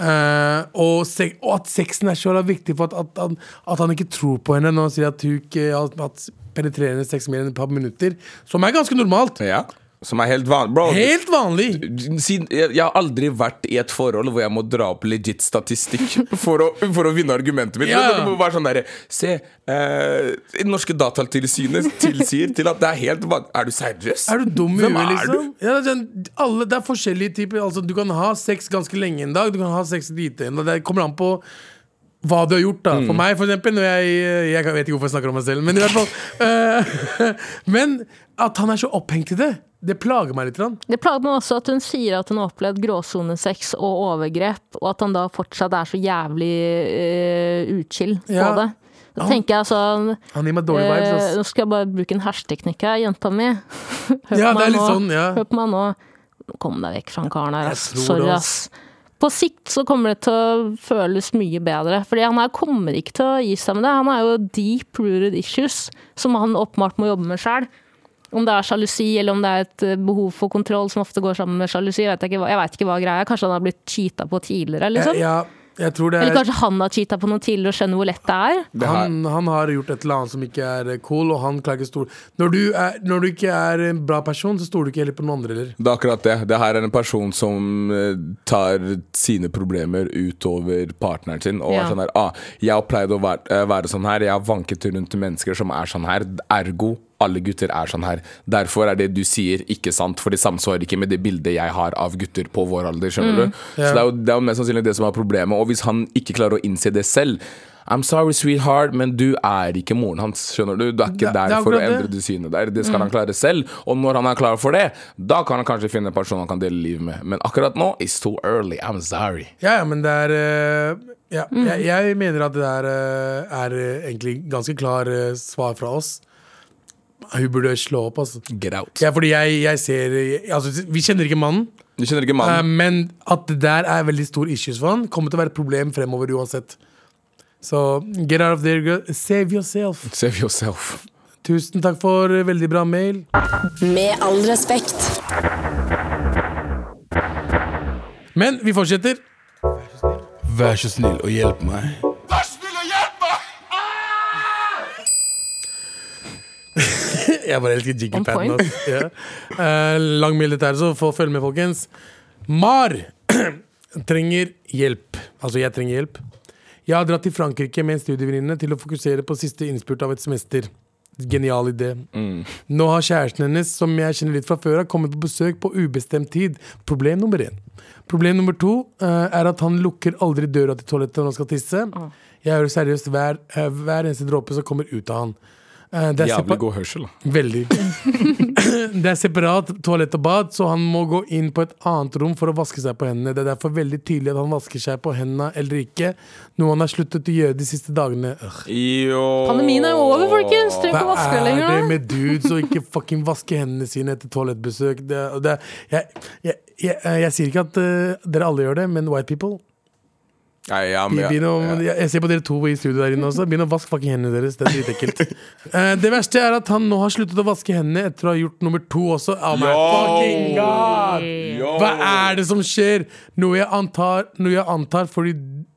Eh, og, se og at sexen er så jævla viktig for at, at, han- at han ikke tror på henne når han sier at hun ikke har hatt penetrerende sex mer enn et par minutter. Som er ganske normalt. ja. Som er helt vanlig. Bro, Helt vanlig! siden, jeg, jeg har aldri vært i et forhold hvor jeg må dra opp legit statistikk [LAUGHS] for å, for å vinne argumentet mitt. Ja. Men Dere må bare sånn derre Se, eh, det norske datatilsynet tilsier til at det er helt vanlig. Er du seriøs? Er du dum i Hvem huet, er liksom? Ja, det, er sånn, alle, det er forskjellige typer. Altså, du kan ha sex ganske lenge en dag, du kan ha sex lite en dag. Det kommer an på hva du har gjort. da Mm. For meg, for eksempel. Når jeg, jeg kan- vet ikke hvorfor jeg snakker om meg selv, men i hvert fall. eh, [LAUGHS] men at han er så opphengt i det, det plager meg litt. Grann. Det plager meg også at hun sier at hun har opplevd gråsonesex og overgrep, og at han da fortsatt er så jævlig uh, utskill Ja. på det. Da tenker jeg sånn Han gir meg dårlige vibes. eh, ass. Nå skal jeg bare bruke en hersketeknikk her, [LAUGHS] jenta mi. Ja, Hør på det er meg litt nå. sånn, ja. Hør på meg nå. Kom deg vekk fra han karen her, ass. Jeg tror Sorry, det, ass. På sikt så kommer det til å føles mye bedre, fordi han her kommer ikke til å gi seg med det. Han har jo deep rooted issues som han åpenbart må jobbe med sjøl. Om det er sjalusi eller om det er et eh, behov for kontroll som ofte går sammen med sjalusi. Jeg vet ikke, hva- jeg vet ikke hva greia er. Kanskje han har blitt cheata på tidligere? Jeg, Liksom. ja, jeg tror det Eller er kanskje han har cheata på noe tidligere og skjønner hvor lett det er? Det her- han, han har gjort et eller annet som ikke er cool, og han klager stor når du, er, når du ikke er en bra person, så stoler du ikke heller på noen andre heller. Det er akkurat det. Det her er en person som eh, tar sine problemer utover partneren sin. Og Ja. er sånn her ah, 'Jeg har pleid å være, eh, være sånn her. Jeg har vanket rundt mennesker som er sånn her. Ergo alle gutter er sånn her. Derfor er det du sier, ikke sant. For det samsvarer ikke med det bildet jeg har av gutter på vår alder. Skjønner du? Så det er, jo, det er jo mest sannsynlig det som er problemet. Og hvis han ikke klarer å innse det selv I'm sorry, sweetheart, men du er ikke moren hans. Skjønner du? Du er ikke Det- det er der for å akkurat det. Mm. endre det synet der. Det skal han klare selv. Og når han er klar for det, da kan han kanskje finne en person han kan dele livet med. Men akkurat nå, it's too early. I'm sorry. Ja, ja, men det er eh, ja, jeg, jeg mener at det der eh, er eh, egentlig ganske klar eh, svar fra oss. Hun burde slå opp, altså. Get out. Ja, fordi jeg, jeg ser jeg, altså, Vi kjenner ikke mannen, Du kjenner ikke eh, mannen? men at det der er veldig stor issues for han, kommer til å være et problem fremover uansett. Så get out of there, girl. Save yourself. Save yourself. Tusen takk for eh, veldig bra mail. Med all respekt. Men vi fortsetter. Vær så snill og hjelp meg. Jeg bare elsker jinglepaden. point. ass. Ja. Eh, lang mail dette her, så få følge med, folkens. Mar [CLEARS THROAT] trenger hjelp. Altså, jeg trenger hjelp. Jeg har dratt til Frankrike med en studievenninne til å fokusere på siste innspurt av et semester. Genial idé. Nå har kjæresten hennes, som jeg kjenner litt fra før, har kommet på besøk på ubestemt tid. Problem nummer én. Problem nummer to eh, er at han lukker aldri døra til toalettet når han skal tisse. Jeg hører seriøst hver, eh, hver eneste dråpe som kommer ut av han. Eh, det er separ- Jævlig god hørsel. da. Veldig. det er separat toalett og bad, så han må gå inn på et annet rom for å vaske seg på hendene. Det er derfor veldig tydelig at han vasker seg på hendene eller ikke, noe han har sluttet å gjøre de siste dagene. Ugh. Jo. Pandemien er jo over, folkens! Trenger ikke å vaske Hva deg er det lenger. nå. med dudes å ikke fucking vaske hendene sine etter toalettbesøk? Det, er- det, er- jeg, jeg, jeg, jeg sier ikke at eh, dere alle gjør det, men white people Ja, ja, men Be- ja, Begynn å, ja. jeg, jeg ser på dere to i studio der inne også. Begynn å vaske fucking hendene deres. Det er dritekkelt. [LAUGHS] Eh, det verste er at han nå har sluttet å vaske hendene etter å ha gjort nummer to også. Oh my fucking god! Hva er det som skjer? Noe jeg, antar, noe jeg antar fordi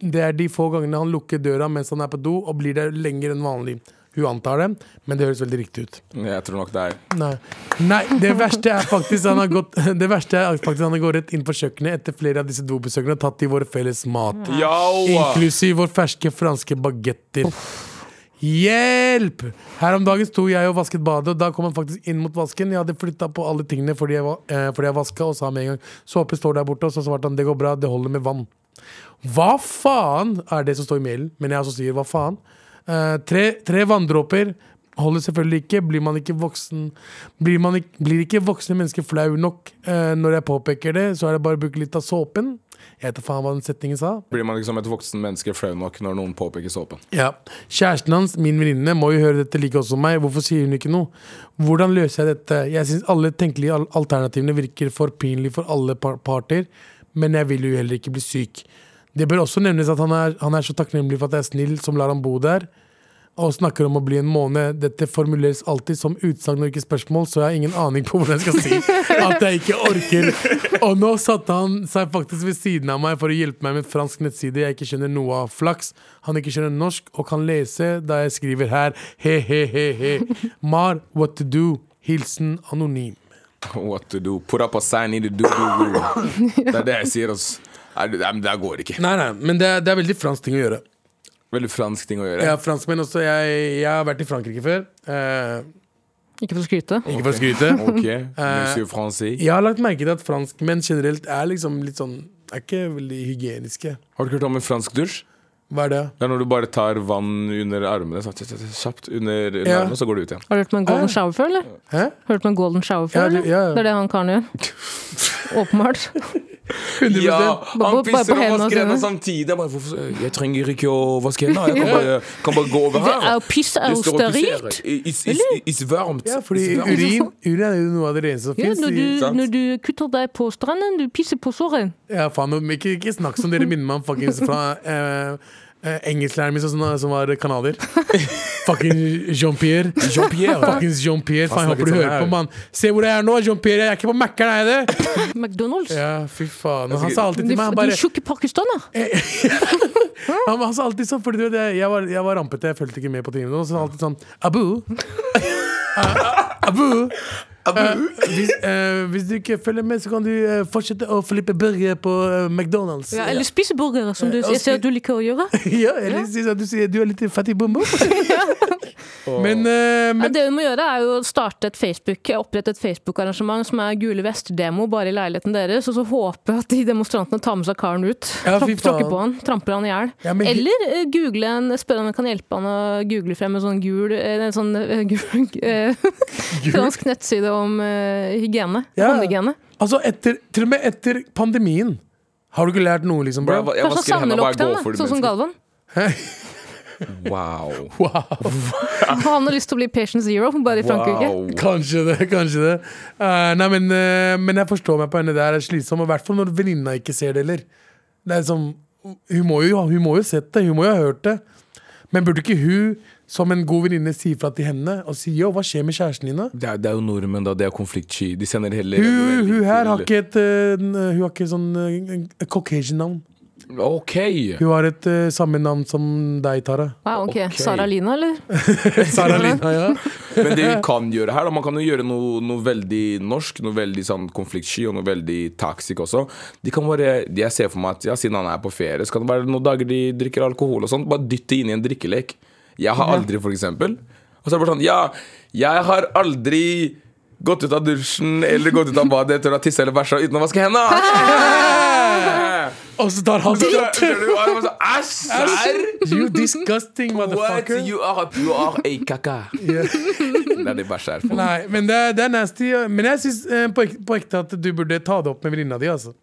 det er de få gangene han lukker døra mens han er på do, og blir der lenger enn vanlig. Hun antar det, men det høres veldig riktig ut. Jeg tror nok det er Nei. Nei, det verste er faktisk han har gått [LAUGHS] Det verste er faktisk han har gått rett inn på kjøkkenet etter flere av disse dobesøkene og tatt i vår felles mat. Yo! Inklusiv vår ferske franske bagetter. Hjelp! Her om dagen sto jeg og vasket badet, og da kom han faktisk inn mot vasken. Jeg hadde flytta på alle tingene fordi jeg, va- eh, fordi jeg vaska, og sa med en gang såpe står der borte, og så svarte han det går bra, det holder med vann. Hva faen er det som står i mailen? Men jeg også sier hva faen. Eh, tre, tre vanndråper holder selvfølgelig ikke. Blir man ikke voksen Blir, man ikke, blir ikke voksne mennesker flau nok eh, når jeg påpeker det, så er det bare å bruke litt av såpen. Jeg vet da faen hva den setningen sa. Blir man ikke som et voksen menneske flau nok når noen påpeker såpen? [LAUGHS] Ja. Kjæresten hans, min venninne, må jo høre dette like også som meg. Hvorfor sier hun ikke noe? Hvordan løser jeg dette? Jeg syns alle tenkelige al- alternativene virker for pinlig for alle par parter, men jeg vil jo heller ikke bli syk. Det bør også nevnes at han er, han er så takknemlig for at jeg er snill som lar ham bo der, og snakker om å bli en måned. Dette formuleres alltid som utsagn og ikke spørsmål, så jeg har ingen aning på hvordan jeg skal si at jeg ikke orker. Og nå satte han seg faktisk ved siden av meg for å hjelpe meg med fransk nettside jeg ikke skjønner noe av. Flaks. Han ikke skjønner norsk og kan lese da jeg skriver her. He-he-he-he. Mar, what to do? Hilsen anonym. What to do? Put up a sign in the [LAUGHS] do do do. Det er det jeg sier, altså. Nei, det- nei, men det går ikke. Nei, nei, men det er, det er veldig fransk ting å gjøre. Veldig fransk ting å gjøre. Jeg er franskmenn også. Jeg, jeg har vært i Frankrike før. Eh, Ikke for å skryte. ikke for å skryte. [LAUGHS] Ok, monsieur Francis. Jeg har lagt merke til at franskmenn generelt er liksom litt sånn Er ikke veldig hygieniske. Har du ikke hørt om en fransk dusj? Hva er det? Det er når du bare tar vann under armene sånn, tja, tja, tja, kjapt under, under Ja. armene, så går du ut igjen. Har du hørt om en golden shower før, eller? Hæ? Hørt om en golden shower før, Ja, du- eller? ja, ja. Det er det han karen [LAUGHS] gjør. Åpenbart. Ja, Bare- han bare pisser på og hendene vasker hendene sine. samtidig. Jeg, bare, hvorfor- jeg trenger ikke å vaske hendene. Jeg kan bare, kan bare gå over Det er her. jo piss er jo Det står og pisser. sterilt. It's, it's, it's varmt. Ja, fordi urin, urin er jo noe av det reneste som Ja, finnes når, fins. du, sant? når du kutter deg på stranden, du pisser på såret. Ja, faen, men ikke, ikke snakk som dere minner meg om fuckings fra eh, eh, engelsklæreren min som, som var canadier. Fucking Jean-Pierre. Jean-Pierre. Fuckings Jean-Pierre. Faen, jeg Han snakket håper du sånn hører her. på, mann. Se hvor jeg er nå, Jean-Pierre. Jeg er ikke på Mækkern, er jeg det? McDonald's. Ja, fy faen. Og Han sa alltid De, til meg han de bare tjukke pakistaner. [LAUGHS] Han, han sa alltid sånn, fordi du vet, jeg- jeg var, jeg var rampete, jeg fulgte ikke med på timene. Og så sa han alltid sånn Abu. [LAUGHS] Eh, Abu. Eh, hvis, eh, hvis du ikke følger med, så kan du eh, fortsette å flippe burger på eh, McDonald's. Ja, eller spise burgere, som du, [LAUGHS] Ja, jeg ser at du liker å gjøre. [LAUGHS] Ja, eller si sånn, du sier du er litt fattig bombo. [LAUGHS] Men, eh, Ja, men det hun må gjøre, er jo å starte et Facebook, opprette et Facebook-arrangement som er Gule Vester-demo bare i leiligheten deres, og så håpe at de demonstrantene tar med seg karen ut. Ja, fy Tråk- Tråkker faen. på han, tramper han i hjel. Ja, men- Eller eh, google en, spørre om jeg kan hjelpe han å google frem en sånn gul eh, En sånn eh, gul [LAUGHS] eh, fransk nettside om eh, hygiene. Ja. Håndhygiene. altså, etter, til og med etter pandemien har du ikke lært noe, liksom, Bro, bro? jeg, va- jeg Kanskje vasker hendene og bare går savnelockdown, for det. sånn mennesket. som Galvan. Wow. Wow. Han har lyst til å bli Patient Zero, bare i Frankrike. wow. Kanskje det, kanskje det. Eh, nei, men, eh, men jeg forstår meg på henne. Det er slitsomt. og I hvert fall når venninna ikke ser det heller. Det er som, hun, må jo, hun må jo sett det, hun må jo ha hørt det. Men burde ikke hun, som en god venninne, si fra til henne og si yo, hva skjer med kjæresten din? da? Det er, det er jo nordmenn, da. De er konfliktsky. De sender heller Hun, hun her har ikke et eh, n- Hun har ikke sånn eh, Caucasian-navn. OK! Hun har et eh, samme navn som deg, Tara. Wow, Ah, ok. Ok. Sara [LAUGHS] Lina, eller? Sara Lina, ja. Men det vi kan gjøre her, da, man kan jo gjøre noe, noe veldig norsk, noe veldig sånn konfliktsky og noe veldig toxic også. De kan bare, de jeg ser for meg at ja, Siden han er på ferie, så kan det være noen dager de drikker alkohol og sånn. Bare dytte inn i en drikkelek. Jeg har aldri, for eksempel. Og så er det bare sånn Ja, jeg har aldri gått ut av dusjen eller gått ut av badet etter å ha tissa eller bæsja uten å vaske hendene. Og så tar han Skjønner du? Og jeg bare sånn, Æsj! serr? You disgusting What? motherfucker. You are, you are a kaka. Det er det bæsja er for. Nei, men det er, det er nasty. ja. Men jeg syns eh, på, ek- på ekte at du burde ta det opp med venninna di. Altså.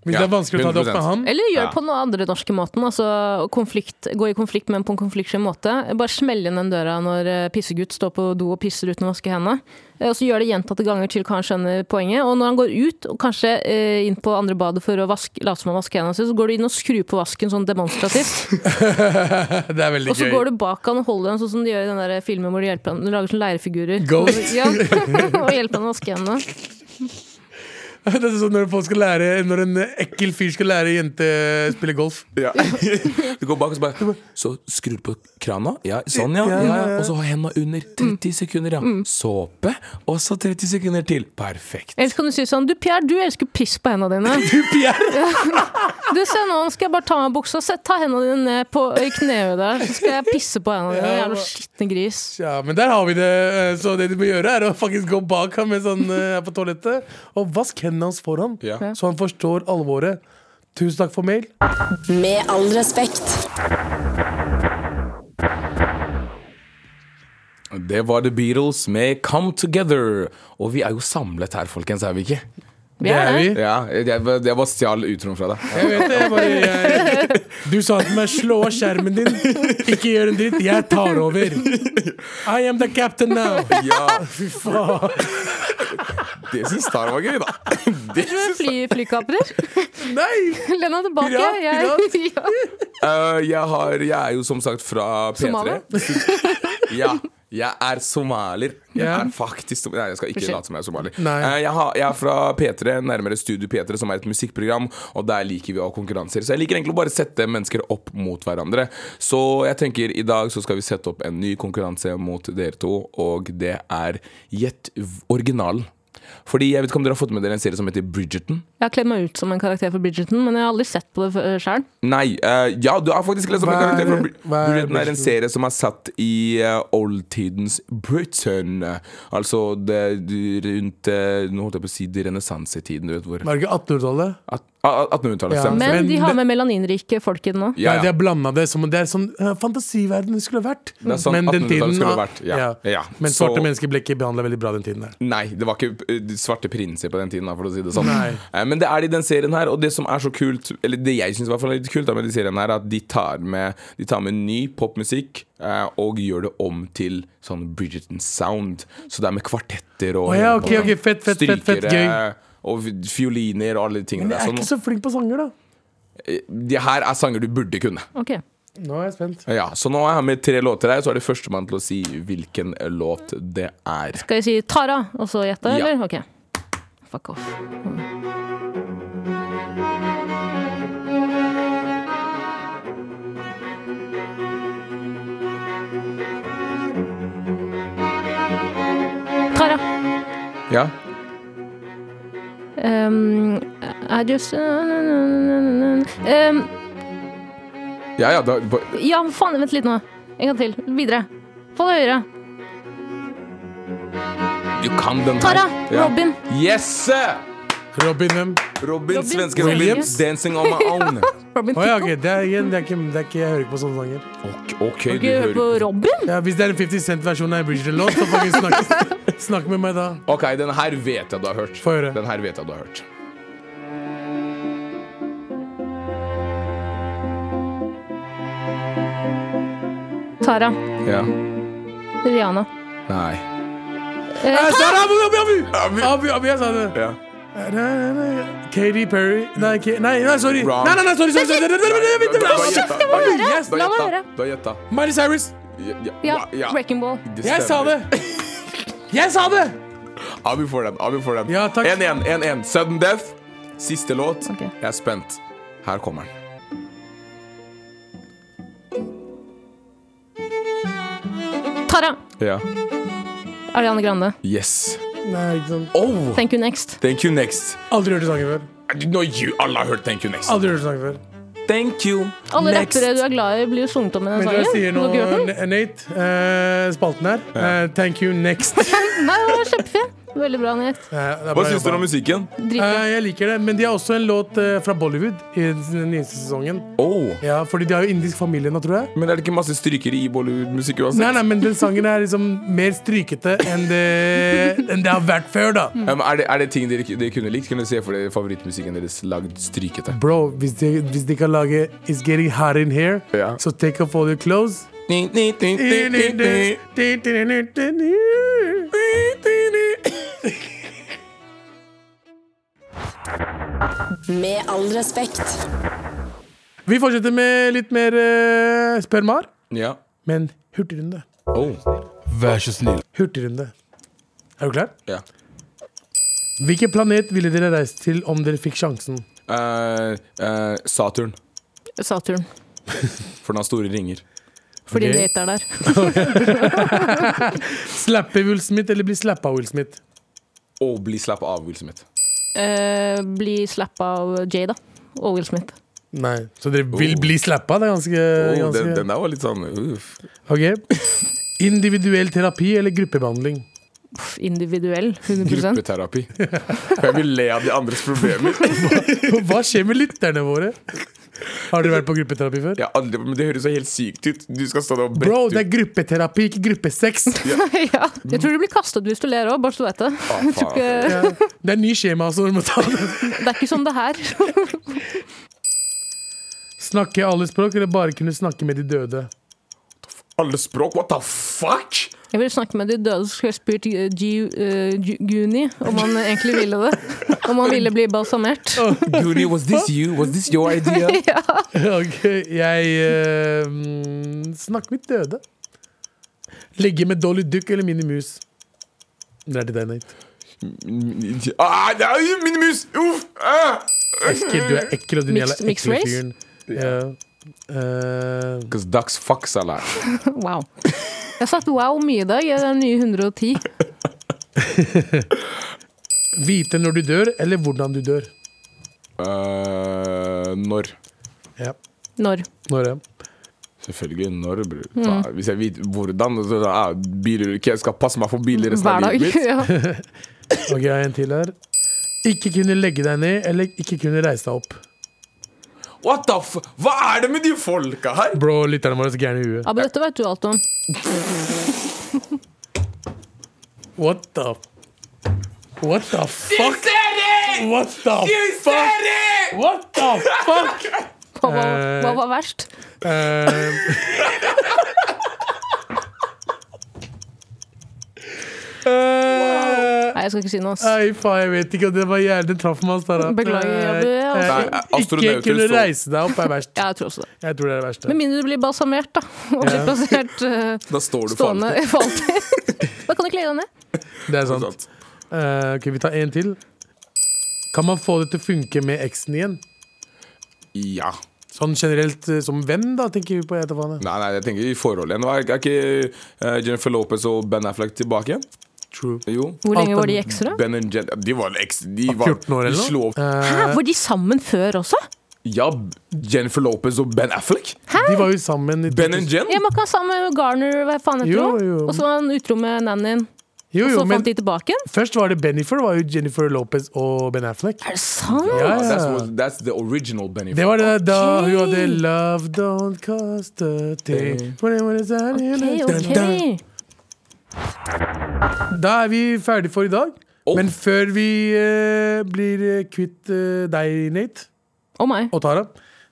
Hvis Ja, det er vanskelig å ta det opp med 100%. han. Eller gjør Ja. på den andre norske måten. Altså konflikt, gå i konflikt med en på en konfliktsky måte. Bare smell inn den døra når eh, pissegutt står på do og pisser uten å vaske hendene. Eh, Og så gjør det gjentatte ganger til han skjønner poenget. Og når han går ut, og kanskje eh, inn på andre badet for å vaske, late som han vasker hendene sine, så går du inn og skrur på vasken sånn demonstrativt. [LAUGHS] Det er veldig Og så gøy. går du bak han og holder han sånn som de gjør i den der filmen hvor de hjelper han, de lager sånne leirfigurer. Ghost. [LAUGHS] Ja, og hjelper han å vaske hendene. [LAUGHS] Det er sånn når, folk skal lære, når en ekkel fyr skal lære jente å spille golf. Ja. [LAUGHS] Du går bak og så bare Så skrur du på krana? Ja, sånn, ja. ja, ja. Og så har henda under. 30 sekunder, ja. Såpe. Og så 30 sekunder til. Perfekt. Ellers kan du si sånn Du Pierre, du elsker å pisse på hendene dine. [LAUGHS] Du se nå, nå skal jeg bare ta meg buksa Sett, ta hendene dine ned på i kneet der Så skal jeg pisse på hendene dine, jævla skittne gris Ja, men der har vi det. eh, Så det du må gjøre, er å faktisk gå bak ham mens han eh, er på toalettet, og vask hendene hans foran, Ja. så han forstår alvoret. Tusen takk for mail. Med all respekt. Det var The Beatles med Come Together. Og vi er jo samlet her, folkens, er vi ikke? Vi er det Ja, jeg, jeg bare stjal utroen fra deg. Jeg vet det. Jeg bare, [LAUGHS] jeg, du sa til meg 'slå av skjermen din', ikke gjør en dritt. Jeg tar [LAUGHS] over. I am the captain now. Ja, [LAUGHS] Fy faen. det syns Tara var gøy, da. [LAUGHS] Det Du er fly, flykaprer Nei! [LAUGHS] Lena tilbake Pirat, jeg, [LAUGHS] ja. Eh, jeg, har, jeg er jo som sagt fra P3. Somalier? [LAUGHS] ja. Jeg er somalier. Jeg Ja. er faktisk som- Nei, jeg skal ikke late som jeg er somalier. Nei. Eh, jeg, har, jeg er fra P3, nærmere Studio P3, som er et musikkprogram, og der liker vi å ha konkurranser. Så jeg liker egentlig å bare sette mennesker opp mot hverandre. Så jeg tenker i dag så skal vi sette opp en ny konkurranse mot dere to, og det er Gjett v- originalen. Fordi jeg vet ikke om dere har fått med dere en serie som heter Bridgerton? Jeg har kledd meg ut som en karakter for Bridgerton Men jeg har aldri sett på det f- selv Nei. eh, ja, du har faktisk lest om en Hva er- karakter fra Bri- hva er Bridgerton. er en Bridgerton? serie som er satt i eh, oldtidens Britain. Altså det, du- rundt eh, Nå holdt jeg på å si det renessansetiden. Du vet hvor Var det ikke 1800-tallet? At- ah, 1800-tallet. Ja. stemmer. Men Men de har det- med melaninrike folk i den nå Nei, Ja, de ja. har blanda det. Som, det er sånn eh, fantasiverdenen skulle ha vært. Det er sånn 1800-tallet skulle ha vært, ja. Ja. Men Så- svarte mennesker ble ikke behandla veldig bra den tiden. Der. Nei, det var ikke eh, de svarte prinser på den tiden, da, for å si det sånn. Nei. Eh, Men det er det i den serien her, og det som er så kult, eller det jeg syns er litt kult da, med den serien her, er at de tar med, de tar med ny popmusikk eh, og gjør det om til sånn Bridgerton sound. Så det er med kvartetter og Å ja, ok, ok, fett, fett, fett, fett, strykere og vi- fioliner og alle de tingene Men jeg der. er ikke Sånn, så flink på sanger, da. eh, det her er sanger du burde kunne. Ok, Nå er jeg spent. Ja, Så nå har jeg med tre låter her, så er det førstemann til å si hvilken låt det er. skal jeg si Tara Og så gjette, Ja. eller? Ok Fuck off Tara Ja? Um, I just um, Ja, ja, da, Ja, faen, vent litt nå. En gang til. Videre. Få det høyere. Du kan den her. Tara, Robin. Yes! Robin M. Robin, Robin svenske Robin. Williams. Dancing on my [LAUGHS] own. Robin Å ja, Thicke. ok. Det er, igjen, det er ikke, det er ikke, jeg hører ikke på sånne sanger. Ok, ok, du Ikke hører hør på Robin? Ja, hvis det er en 50 Cent-versjon av Aboriginal låt, så fucking snakk, snakk med meg da. Ok, den her vet jeg du har hørt. Få høre. Den her vet jeg du har hørt. Tara. Ja. Rihanna. Nei. Eh, Sara, Abu, Abu, Abu. Abu, Abu, jeg sa det. Ja. Nei, nei, nei. Katy Perry Nei, Ka- nei, nei sorry. Wrong. Nei, nei, nei, sorry, sorry, sorry. Nei, nei, nei, nei, nei, Shit, nei. jeg må høre. Yes. Du har La meg gjetta. høre. Du har gjetta. Miley Cyrus. Ja, Ja, ja. Wrecking Ball. Det Jeg sa stemmer. det! Jeg sa det! Abi får den. Abi får den. Ja, takk. 1-1. 1-1. Sudden Death. Siste låt. Ok. Jeg er spent. Her kommer den. Tara. Ja. Ariane Grande. Yes. Nei, ikke sant. Oh! Thank you next. Thank you next. Aldri hørt sangen før. No, you, alle har hørt Thank you next. Aldri hørt sangen før. Thank you Alle next. rappere du er glad i, blir jo sunget om i den Men dere sier sangen. Du nå, har ikke hørt den? N- Nate, eh, spalten her. Eh, thank you, next. Eh, Nei, det var kjempefin. Veldig bra nyhet. det er Hva bra syns jobba. dere om musikken? Dritbra. Eh, jeg liker det, men de har også en låt eh, fra Bollywood i den den nyeste sesongen. Oh. Ja, fordi de har jo indisk familie nå, tror jeg. Men er det ikke masse strykere i Bollywood-musikk Nei, uansett? nei, men den sangen er liksom mer strykete enn det, enn det har vært før, da. Um, er, det, er det ting dere, dere kunne likt? Kunne dere se for dere favorittmusikken deres lagd strykete? Bro, hvis de, hvis de kan lage It's getting hot in here, Ja. so take off all your clothes. Med all respekt. Vi fortsetter med litt mer eh, Spør Mar. Ja. Men hurtigrunde. Oh. Vær så snill. Hurtigrunde. Er du klar? ja. Hvilken planet ville dere reist til om dere fikk sjansen? Eh, eh, Saturn. Saturn. For den har store ringer. Fordi Ok. Nate er der. Slappe Will Smith eller bli slappa av Will Smith? Og bli slapp av Will Smith. Eh, bli slappa av Jada og Will Smith. Nei. Så dere vil bli slappa? Det er ganske, Oh, ganske. den, den der var litt sånn uff. Ok. Individuell terapi eller gruppebehandling? Pff, individuell. 100 Gruppeterapi. For jeg vil le av de andres problemer. Hva skjer med lytterne våre? Har dere vært på gruppeterapi før? Jeg har aldri, men Det høres så helt sykt ut. Du skal stå der og Bro, det brette er ut. gruppeterapi, ikke gruppesex. [LAUGHS] ja. Jeg tror du blir kastet hvis du ler òg, bare så [LAUGHS] du vet det. Ah, faen. Ikke- Det er ny skjema, så dere må ta det. Det er ikke som det her. [LAUGHS] Snakke alle språk, eller bare kunne snakke med de døde? [LAUGHS] Alle språk, what the fuck?! Jeg ville snakke med de døde, så skulle jeg spurt eh, G- eh, G- Guni om han egentlig ville det. Om han ville bli balsamert. Goonie, was this you? Was this your idea? Ok, jeg eh, mm, Snakke med døde. Ligge med Dolly Duck eller Minimus? Det er til deg, Nate. [LAUGHS] Ah, det er jo minimus! Uff! Ah! Ekkel, du er ekkel, og din jævla Mixed- mixed ekle race? fyren. Ja. Eh, Because ducks fucks a [LAUGHS] lot. Wow. Jeg har sagt wow mye i dag. Jeg er den nye 110. vite når du dør, eller hvordan du dør. Eh, når? Ja. Når? Når er det? Selvfølgelig når, bror. Faen, Hvis jeg vet hvordan så, ah, bilulykke, Jeg skal passe meg for biler resten Hver av dag. livet [LAUGHS] mitt. Ja. Ok, jeg har en til her. Ikke kunne legge deg ned, eller ikke kunne reise deg opp. What the f... Hva er det med de folka her?! Bro, lytterne våre er så gærne i huet. Ja, men dette vet du alt om. What the What the fuck? What the fuck? What the fuck? Hva var, hva var verst? Eh, [LAUGHS] eh, Nei, jeg skal ikke si noe. ass. Nei, faen, jeg vet ikke. Det var hjernen traff meg. ass, Tara. Beklager, jeg ble- Eh, eh, Nei, Ikke astronauter kunne står- reise deg opp er verst. Ja, jeg tror også det. Jeg tror det er det verste. Med mindre du blir balsamert, da. Og blir plassert eh, Da står du for stående alltid. for alltid. [LAUGHS] Da kan du kle deg ned. Det er sant. Sant. Eh, ok, Vi tar en til. Kan man få det til å funke med eksen igjen? Ja. Sånn generelt eh, som venn, da, tenker vi på. Jeg vet da faen, jeg. Nei, nei, jeg tenker i forhold igjen. Er, er ikke eh, Jennifer Lopez og Ben Affleck tilbake igjen? True. Jo. Hvor Alt lenge var de er- ekstra? Ben og Jen De var eks... De var 14 år de eller slo noe? opp- Hæ, var de sammen før også? Ja, Jennifer Lopez og Ben Affleck? De var jo sammen i Ben og Jen? Ja, man kan ha sammen med Garner, hva faen heter Jo, hun? jo. Og så var han utro med nannyen. Jo, og jo, så men fant de tilbake igjen? først var det Bennifer. Det var jo Jennifer Lopez og Ben Affleck. Er det sant? Ja, Oh, that's, ja. what- that's the original Benny. Det var det da Ok. hun hadde Love don't cost a Eh. thing. Ok, ok. Da er vi ferdig for i dag. Oh. Men før vi eh, blir eh, kvitt eh, deg, Nate, Å meg. og Tara,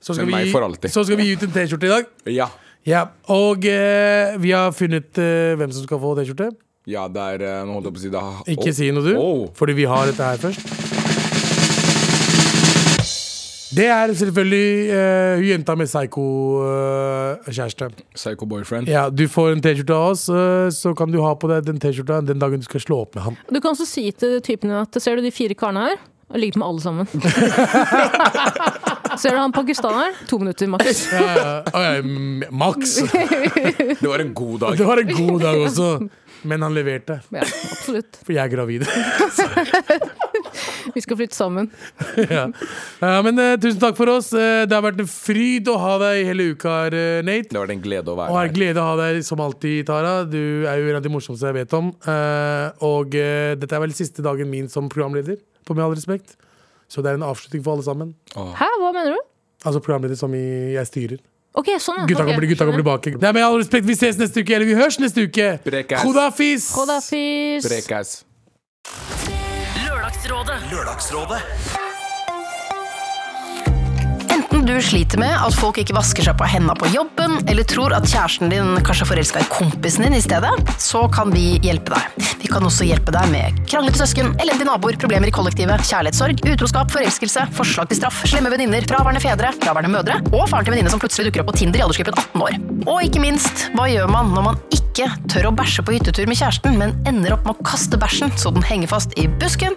så skal, Men meg vi, for alltid. så skal vi gi ut en T-skjorte i dag. Ja. Ja, Og eh, vi har funnet eh, hvem som skal få T-skjorte. ja, det er eh, Nå holdt jeg på å si det. Ah, Ikke oh. si noe, du. Oh. Fordi vi har dette her først. Det er selvfølgelig eh, hun jenta med psycho-kjæreste. Psycho boyfriend. ja, du får en T-skjorte av oss, eh, så kan du ha på deg den T-skjorta den dagen du skal slå opp med ham. Du kan også si til typen din at ser du de fire karene her? Jeg ligger med alle [LAUGHS] sammen. ser du han pakistaneren? To minutter maks. Ja, ja, ja, m- Eh, Max! Det var en god dag. Det var en god dag også. Men han leverte, Ja, [LAUGHS] absolutt. for jeg er gravid. [LAUGHS] Vi skal flytte sammen. ja. Ja, men eh, tusen takk for oss. Eh, det har vært en fryd å ha deg hele uka her, eh, Nate. Det var en glede å Og være har her. glede å ha deg som alltid, Tara. Du er jo en av de morsomste jeg vet om. Eh, og eh, dette er vel siste dagen min som programleder, på med all respekt. Så det er en avslutning for alle sammen. Hæ, hva mener du? Altså programleder som i, jeg styrer. Ok, sånn ja. Gutta Ok, kommer, gutta kommer skjønner. tilbake. Nei, med all respekt, vi ses neste uke, eller vi hørs neste uke! Prekes. Kodafis! Kodafis. Prekes. Lørdagsrådet. Enten du sliter med at folk ikke vasker seg på hendene på jobben, eller tror at kjæresten din kanskje er forelska i kompisen din i stedet, så kan vi hjelpe deg. Vi kan også hjelpe deg med kranglete søsken, elendige naboer, problemer i kollektivet, kjærlighetssorg, utroskap, forelskelse, forslag til straff, slemme venninner, fraværende fedre, fraværende mødre og faren til venninne som plutselig dukker opp på Tinder i aldersgruppen 18 år. Og ikke minst, hva gjør man når man ikke tør å bæsje på hyttetur med kjæresten, men ender opp med å kaste bæsjen så den henger fast i busken?